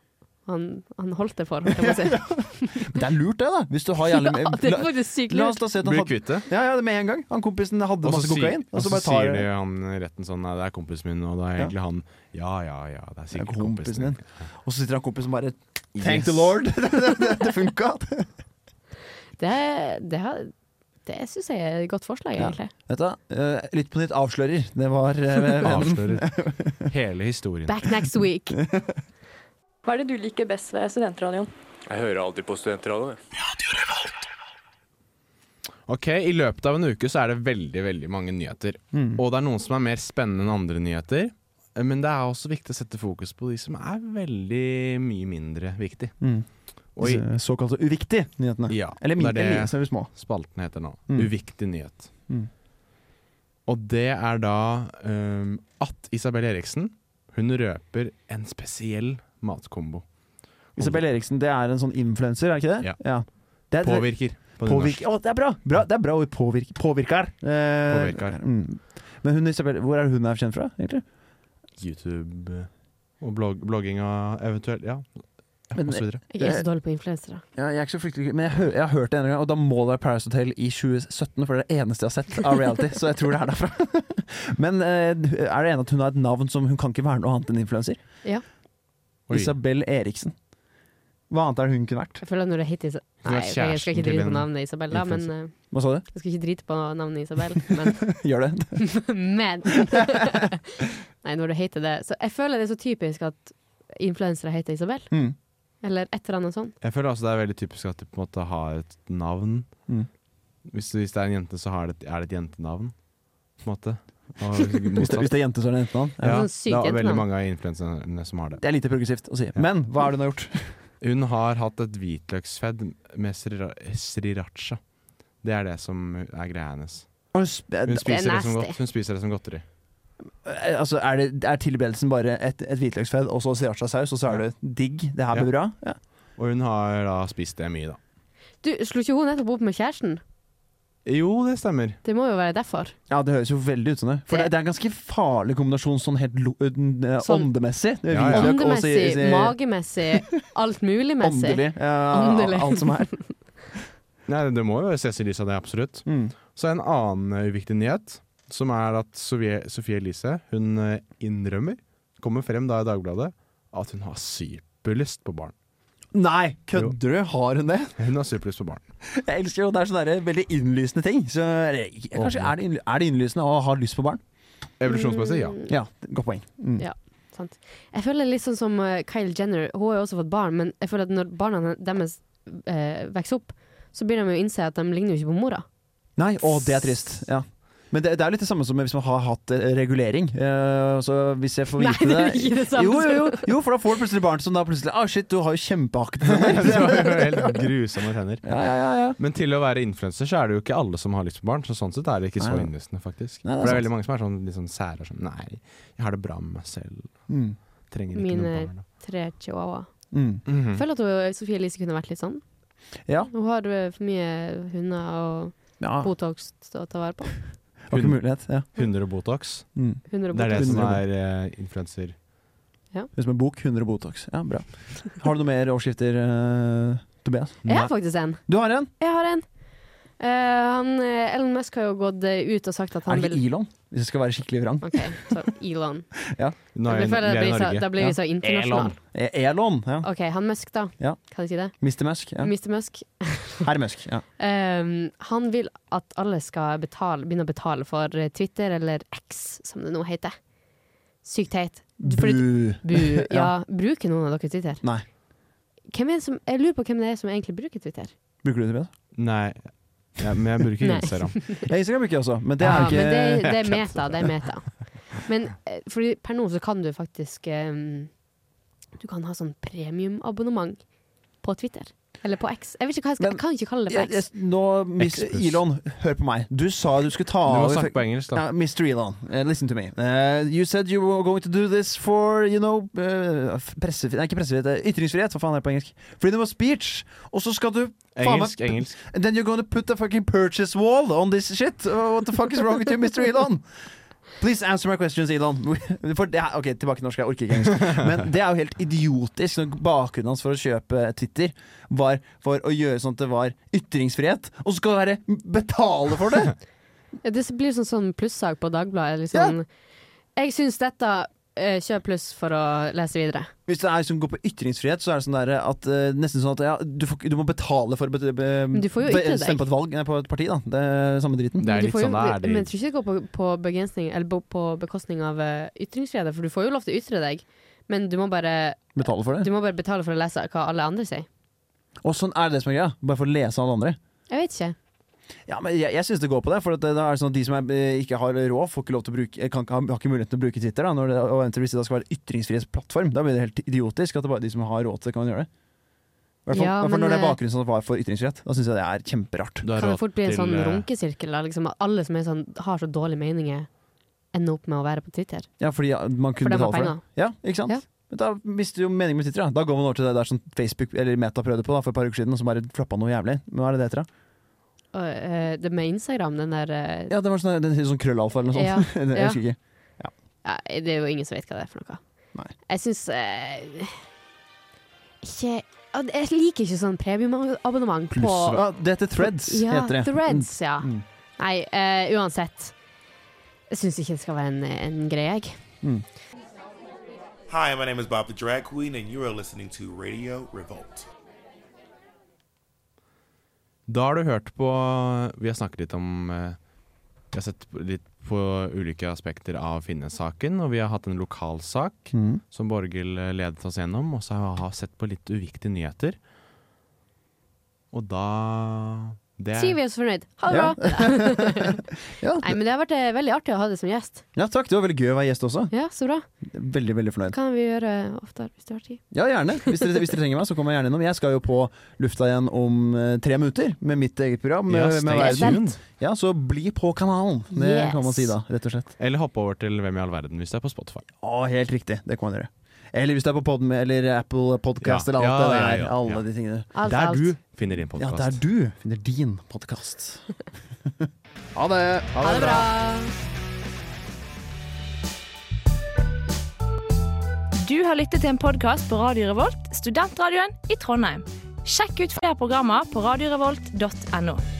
[SPEAKER 6] han, han holdt det for, holdt jeg på å si.
[SPEAKER 7] Men det er lurt, det, da. Hvis du har jævlig
[SPEAKER 6] Ja, det er faktisk sykt
[SPEAKER 7] La
[SPEAKER 6] lurt.
[SPEAKER 7] oss da si at han
[SPEAKER 8] Blir
[SPEAKER 7] hadde-
[SPEAKER 8] kvitt det?
[SPEAKER 7] Ja, ja, det med en gang. Han kompisen hadde
[SPEAKER 8] Og så
[SPEAKER 7] masse
[SPEAKER 8] sier-
[SPEAKER 7] kokain.
[SPEAKER 8] Og så
[SPEAKER 7] bare tar
[SPEAKER 8] sier de han i retten sånn Nei, det er kompisen min, og det er egentlig han Ja ja ja, det er sikkert kompisen din.
[SPEAKER 7] Og så sitter han kompisen bare
[SPEAKER 8] Yes.
[SPEAKER 7] Thank the lord! det det, det, det funka!
[SPEAKER 6] Det, det, har- det syns jeg er et godt forslag,
[SPEAKER 7] Ja.
[SPEAKER 6] egentlig.
[SPEAKER 7] Vet du, eh, Lytt på nytt avslører. Det var eh, vennen.
[SPEAKER 8] Avslører. Hele historien.
[SPEAKER 6] Back next week.
[SPEAKER 14] Hva er det du liker best ved studentradioen?
[SPEAKER 15] Jeg hører alltid på studentradioen.
[SPEAKER 8] Ok, I løpet av en uke så er det veldig veldig mange nyheter.
[SPEAKER 7] Mm.
[SPEAKER 8] Og det er noen som er mer spennende enn andre nyheter. eh, Men det er også viktig å sette fokus på de som er veldig mye mindre viktig.
[SPEAKER 7] Mm.
[SPEAKER 8] Og i-
[SPEAKER 7] Disse Såkalte uviktige nyhetene.
[SPEAKER 8] Ja,
[SPEAKER 7] Eller mindre,
[SPEAKER 8] det er det-
[SPEAKER 7] eller så er vi små.
[SPEAKER 8] Spalten heter nå.
[SPEAKER 7] Mm.
[SPEAKER 8] Uviktig nyhet.
[SPEAKER 7] Mm.
[SPEAKER 8] Og det er da ehm, at Isabel Eriksen Hun røper en spesiell matkombo.
[SPEAKER 7] Isabel Eriksen, det er en sånn influenser, er ikke det?
[SPEAKER 8] Ja.
[SPEAKER 7] Det er-
[SPEAKER 8] Påvirker, på nynorsk.
[SPEAKER 7] Påvirker. Å, det er bra! bra! Det er bra ord. Påvirker. Påvirker. Eh,
[SPEAKER 8] Påvirker.
[SPEAKER 7] Mm. Men hun Isabel, hvor er hun her kjent fra, egentlig?
[SPEAKER 8] YouTube eh, og blogg, blogging og eventuelt Ja,
[SPEAKER 7] Men-
[SPEAKER 8] og så videre.
[SPEAKER 6] Jeg er så dårlig på influensere.
[SPEAKER 7] Ja, jeg er ikke så fryktelig Men jeg, hø jeg har hørt det en gang, og da må det være Paris Hotel i 2017, for det er det eneste jeg har sett av reality, så jeg tror det er derfra. Men eh, er det enig at hun har et navn som hun kan ikke være noe annet enn influenser?
[SPEAKER 6] Ja.
[SPEAKER 7] Oi. eh, Isabel Eriksen. Hva annet er det hun kunne vært?
[SPEAKER 6] Jeg føler at når det er hittil så-
[SPEAKER 7] Hun er
[SPEAKER 6] Nei, ok, jeg skal
[SPEAKER 7] kjæresten
[SPEAKER 6] ikke
[SPEAKER 7] til
[SPEAKER 6] drite på
[SPEAKER 7] en
[SPEAKER 6] navnet Isabel, da, men
[SPEAKER 7] influencer.
[SPEAKER 6] eh,
[SPEAKER 7] Hva sa du?
[SPEAKER 6] Jeg skal ikke drite på navnet Isabel, men
[SPEAKER 7] Gjør det.
[SPEAKER 6] Men Nei, når du heter det Så jeg føler det er så typisk at influensere heter Isabel.
[SPEAKER 7] Mm.
[SPEAKER 6] Eller et eller annet sånt.
[SPEAKER 8] Jeg føler også det er veldig typisk at de på en måte har et navn.
[SPEAKER 7] Mm.
[SPEAKER 8] Hvis, hvis det er en jente, så har det, er det et jentenavn, på en måte.
[SPEAKER 7] Hvis det- hvis det er jente, så er det jentenavn.
[SPEAKER 8] Ja,
[SPEAKER 7] Ja.
[SPEAKER 8] det
[SPEAKER 7] Sånn sykt
[SPEAKER 8] er
[SPEAKER 7] jentenavn.
[SPEAKER 8] veldig mange av influenserne som har det.
[SPEAKER 7] Det er lite progressivt å si. Men hva er det hun har gjort?
[SPEAKER 8] Hun har hatt et hvitløksfedd med srira- sriracha. Det er det som er greia hennes.
[SPEAKER 7] Hun
[SPEAKER 8] Hun spiser det, som
[SPEAKER 7] nasty.
[SPEAKER 8] godt, hun spiser det som godteri.
[SPEAKER 7] Eh, Altså, er, det, er tilberedelsen bare et, et hvitløksfedd og så sriracha-saus, og så er det digg? Det her blir bra? Ja.
[SPEAKER 8] Og hun har da spist det mye, da.
[SPEAKER 6] Du, slo ikke hun nettopp opp med kjæresten?
[SPEAKER 8] Jo, det stemmer.
[SPEAKER 6] Det må jo være derfor.
[SPEAKER 7] Ja, det høres jo veldig ut som det. For det, det er en ganske farlig kombinasjon sånn helt lo, eh,
[SPEAKER 6] Sånn-
[SPEAKER 7] åndemessig. Det
[SPEAKER 8] Ja,
[SPEAKER 7] er
[SPEAKER 8] ja.
[SPEAKER 7] hvitløk og si-
[SPEAKER 6] Åndemessig,
[SPEAKER 7] si-
[SPEAKER 6] magemessig, alt mulig-messig.
[SPEAKER 7] Åndelig. Ja,
[SPEAKER 6] Åndelig.
[SPEAKER 7] alt som er.
[SPEAKER 8] Nei, det må jo ses i lys av det, absolutt.
[SPEAKER 7] Mm.
[SPEAKER 8] Så en annen eh, uviktig nyhet, som er at Sofie, Sofie Elise hun eh, innrømmer, kommer frem da i Dagbladet, at hun har superlyst på barn.
[SPEAKER 7] Nei, kødder du? Har hun det?
[SPEAKER 8] Hun har superlyst på barn.
[SPEAKER 7] Jeg elsker jo, det er sånne der veldig innlysende ting. Så, eller, kanskje er det, innly- er det innlysende å ha lyst på barn?
[SPEAKER 8] Evolusjonsmessig, ja.
[SPEAKER 7] Ja, Godt poeng. Mm.
[SPEAKER 6] Ja, sant. Jeg føler litt sånn som eh, Kylie Jenner. Hun har jo også fått barn, men jeg føler at når barna deres eh, vokser opp, så begynner de jo å innse at de ligner jo ikke på mora.
[SPEAKER 7] Nei, å, det er trist. Ja. Men det, det er litt det samme som hvis man har hatt eh, regulering. Eh, så hvis jeg får
[SPEAKER 6] Nei,
[SPEAKER 7] vite
[SPEAKER 6] det er ikke det samme
[SPEAKER 7] jo, jo, jo,
[SPEAKER 6] som-
[SPEAKER 7] jo, for da får du plutselig barn som da plutselig Å, shit, du har jo kjempehakkete tenner.
[SPEAKER 8] Det var jo helt grusomme tenner.
[SPEAKER 7] Ja, ja, ja, ja.
[SPEAKER 8] Men til å være influenser så er det jo ikke alle som har lyst på barn, så sånn sett er det ikke så
[SPEAKER 7] Nei, nei.
[SPEAKER 8] innlysende, faktisk.
[SPEAKER 7] Nei,
[SPEAKER 8] For det
[SPEAKER 7] det er
[SPEAKER 8] er
[SPEAKER 7] sant.
[SPEAKER 8] veldig mange som er sånn litt sånn sære sånn Nei, jeg har det bra med meg selv.
[SPEAKER 7] Mm.
[SPEAKER 8] Trenger ikke
[SPEAKER 6] Mine
[SPEAKER 8] noe barn.
[SPEAKER 6] tre chihuahua.
[SPEAKER 7] Mm.
[SPEAKER 8] Mhm.
[SPEAKER 6] Jeg føler at hun, Sofie Elise kunne vært litt sånn.
[SPEAKER 7] Ja.
[SPEAKER 6] Hun har eh, for mye hunder og
[SPEAKER 7] Ja.
[SPEAKER 6] Botox å ta vare på.
[SPEAKER 7] Har ikke mulighet. Ja.
[SPEAKER 8] Hunder og Botox.
[SPEAKER 7] Mm.
[SPEAKER 6] Hunder og
[SPEAKER 8] Det er det
[SPEAKER 7] Botox.
[SPEAKER 8] som
[SPEAKER 7] Hunder
[SPEAKER 8] er eh, influenser.
[SPEAKER 7] Hvis man bok, 100 Botox. Ja, bra. Har du noe mer overskrifter, eh, Tobias?
[SPEAKER 6] Jeg har faktisk en.
[SPEAKER 7] Du har en?
[SPEAKER 6] Jeg har en. Eh, han, eh, Elon Musk har jo gått eh, ut og sagt at han
[SPEAKER 7] Er det
[SPEAKER 6] vil
[SPEAKER 7] ikke Elon? Hvis jeg skal være skikkelig vrang.
[SPEAKER 6] Ok, så Elon.
[SPEAKER 7] Ja.
[SPEAKER 6] Nå er vi- Da blir- føler jeg vi er i da blir vi Norge. så- da blir vi
[SPEAKER 7] Ja.
[SPEAKER 6] så internasjonal.
[SPEAKER 7] E- Elon, ja.
[SPEAKER 6] OK, han Musk, da.
[SPEAKER 7] ja.
[SPEAKER 6] Kan jeg si det?
[SPEAKER 7] Mr. Musk. Ja.
[SPEAKER 6] Mr. Musk.
[SPEAKER 7] Herr Musk. Ja.
[SPEAKER 6] Ehm, han vil at alle skal betale, begynne å betale for eh, Twitter, eller X, som det nå heter. Sykt teit. Du- fordi-
[SPEAKER 7] Bu.
[SPEAKER 6] Bu.
[SPEAKER 7] Ja.
[SPEAKER 6] Ja, bruker noen av dere Twitter?
[SPEAKER 7] Nei.
[SPEAKER 6] Hvem er det som, jeg lurer på hvem det er som egentlig bruker Twitter.
[SPEAKER 7] Bruker du det, Tobias?
[SPEAKER 8] Nei, ja, men jeg bruker
[SPEAKER 6] Nei.
[SPEAKER 8] Instagram.
[SPEAKER 7] Ja, Instagram bruker jeg også, men det er
[SPEAKER 6] ja,
[SPEAKER 7] ikke
[SPEAKER 6] men det, det er meta. Det er meta. Men eh, fordi per nå så kan du faktisk eh, Du kan ha sånn premiumabonnement på Twitter. Eller på X. Jeg, vet ikke hva jeg, skal, jeg kan ikke kalle det
[SPEAKER 7] Jeg-
[SPEAKER 6] på X.
[SPEAKER 7] jeg- Nå, Miss
[SPEAKER 8] X-plus.
[SPEAKER 7] Elon, hør på meg. Du sa du skulle ta
[SPEAKER 8] Du må
[SPEAKER 7] over-
[SPEAKER 8] snakke på engelsk, da.
[SPEAKER 7] Ja, Mr. Elon, eh, listen to me. Eh, you said you were going to do this for, you know eh, f- pressefri- Nei, ikke pressefrihet. eh, Ytringsfrihet, hva faen er det på engelsk? Freedom of speech. Og så skal du faen meg-
[SPEAKER 8] Engelsk, engelsk.
[SPEAKER 7] And then you're going to put a fucking purchase wall on this shit. Oh, what the fuck is wrong with you, Mr. Elon? Please answer my questions, Elon. For det er, ok, Tilbake til norsk, jeg orker ikke engelsk. Men det er jo helt idiotisk. Når bakgrunnen hans for å kjøpe Twitter var for å gjøre sånn at det var ytringsfrihet, og så skal det være betale for det!
[SPEAKER 6] Ja, Det blir sånn, sånn plussak på Dagbladet. Eller sånn, Jeg syns dette eh, Kjøp pluss for å lese videre.
[SPEAKER 7] Hvis det er som går på ytringsfrihet, så er det sånn der at eh, nesten sånn at ja, du, får, ikke- du må betale for å bet- be-
[SPEAKER 6] Men du får jo
[SPEAKER 7] be-
[SPEAKER 6] ytre deg.
[SPEAKER 7] stemme på et valg, nei, på et parti, da. Det er samme driten.
[SPEAKER 8] Det er
[SPEAKER 6] Du
[SPEAKER 8] litt
[SPEAKER 6] får jo,
[SPEAKER 8] sånn det er.
[SPEAKER 6] men jeg
[SPEAKER 8] Det.
[SPEAKER 6] tror ikke det går på, på, begrensning, eller på, på bekostning av eh, ytringsfrihet, for du får jo lov til å ytre deg, men du må bare,
[SPEAKER 7] Betale for
[SPEAKER 6] du
[SPEAKER 7] det.
[SPEAKER 6] må bare betale for å lese hva alle andre sier.
[SPEAKER 7] Og sånn er det det som er greia. Bare for å lese alle andre.
[SPEAKER 6] Jeg vet ikke.
[SPEAKER 7] Ja, men jeg, jeg syns det går på det. For at det, da er det sånn at de som er, eh, ikke har råd, får ikke lov til å bruke eh, kan, ikke ha- har ikke muligheten til å bruke Twitter. Da, når det, og eventuelt hvis det da skal være ytringsfrihetsplattform. Da blir det helt idiotisk at det bare er de som har råd til det, kan gjøre det. I hvert fall,
[SPEAKER 6] Ja,
[SPEAKER 7] i hvert fall
[SPEAKER 6] men,
[SPEAKER 7] når det er
[SPEAKER 6] eh,
[SPEAKER 7] bakgrunnen som var for ytringsfrihet. Da syns jeg det er kjemperart.
[SPEAKER 8] Du har
[SPEAKER 6] Kan det
[SPEAKER 8] råd
[SPEAKER 6] fort bli en
[SPEAKER 8] til,
[SPEAKER 6] sånn
[SPEAKER 8] eh,
[SPEAKER 6] runkesirkel, da? Liksom, at alle som er sånn, har så dårlige meninger, ender opp med å være på Twitter?
[SPEAKER 7] Ja, fordi ja, man kunne
[SPEAKER 6] For de
[SPEAKER 7] betale
[SPEAKER 6] har
[SPEAKER 7] for det. Ja, ikke sant? Men da mister du jo meningen med Twitter. Da. da går man over til det der som Facebook eller Meta prøvde på da, for et par uker siden, og som bare floppa noe jævlig. Men hva er det det heter, da?
[SPEAKER 6] Og, eh, det med Instagram, den der eh,
[SPEAKER 7] Ja, det var sånn, det heter sånn krøllalfa eller noe sånt.
[SPEAKER 6] Ja,
[SPEAKER 7] jeg
[SPEAKER 6] ja.
[SPEAKER 7] husker ikke.
[SPEAKER 6] ja, Det er jo ingen som vet hva det er for noe. Jeg syns eh, Ikke ja, det- Jeg liker ikke sånn premiumabonnement på
[SPEAKER 7] ja, det heter Threads,
[SPEAKER 6] ja,
[SPEAKER 7] heter det.
[SPEAKER 6] Threads, ja.
[SPEAKER 7] Mm.
[SPEAKER 6] Nei, eh, uansett. Jeg syns ikke det skal være en, en greie, jeg.
[SPEAKER 16] Hi, my name is Bob the Drag Queen, and you are listening to Radio Revolt.
[SPEAKER 8] Da har du hørt på Vi har snakket litt om eh, Vi har sett på- litt på ulike aspekter av Finnes-saken, og vi har hatt en lokalsak
[SPEAKER 7] Mhm.
[SPEAKER 8] som Borghild eh, ledet oss gjennom, og så har vi sett på litt uviktige nyheter. Og da det
[SPEAKER 6] Sier vi oss fornøyd. Ha det
[SPEAKER 7] Ja.
[SPEAKER 6] bra!
[SPEAKER 7] Ja.
[SPEAKER 6] Nei, men det har vært eh, veldig artig å ha deg som gjest.
[SPEAKER 7] ja takk, det var veldig gøy å være gjest også.
[SPEAKER 6] Ja, så bra.
[SPEAKER 7] Veldig, veldig fornøyd.
[SPEAKER 6] Kan vi gjøre oftere hvis du har tid.
[SPEAKER 7] Ja, gjerne. Hvis dere, hvis dere trenger meg, så kommer jeg gjerne innom. Jeg skal jo på lufta igjen om eh, tre minutter med mitt eget program.
[SPEAKER 8] Ja,
[SPEAKER 7] eh, med
[SPEAKER 8] stay
[SPEAKER 7] verden.
[SPEAKER 8] tuned.
[SPEAKER 7] ja, så bli på kanalen, det
[SPEAKER 8] Yes.
[SPEAKER 7] kan man si da, rett og slett.
[SPEAKER 8] Eller hoppe over til Hvem i all verden, hvis det er på Spotify.
[SPEAKER 7] Å, helt riktig. Det kan man gjøre. Eller hvis det er på Podme eller Apple Podcast
[SPEAKER 8] Ja.
[SPEAKER 7] eller alt
[SPEAKER 8] Ja,
[SPEAKER 7] det
[SPEAKER 8] ja,
[SPEAKER 7] der.
[SPEAKER 8] ja, ja.
[SPEAKER 7] Alle de tingene.
[SPEAKER 6] Alt,
[SPEAKER 8] der
[SPEAKER 6] alt.
[SPEAKER 8] du finner din
[SPEAKER 7] Ja,
[SPEAKER 8] podkast.
[SPEAKER 7] der du finner din podkast. ha det!
[SPEAKER 6] Ha det bra!
[SPEAKER 9] Du har lyttet til en podkast på Radio Revolt, studentradioen i Trondheim. Sjekk ut flere programmer på radiorevolt.no.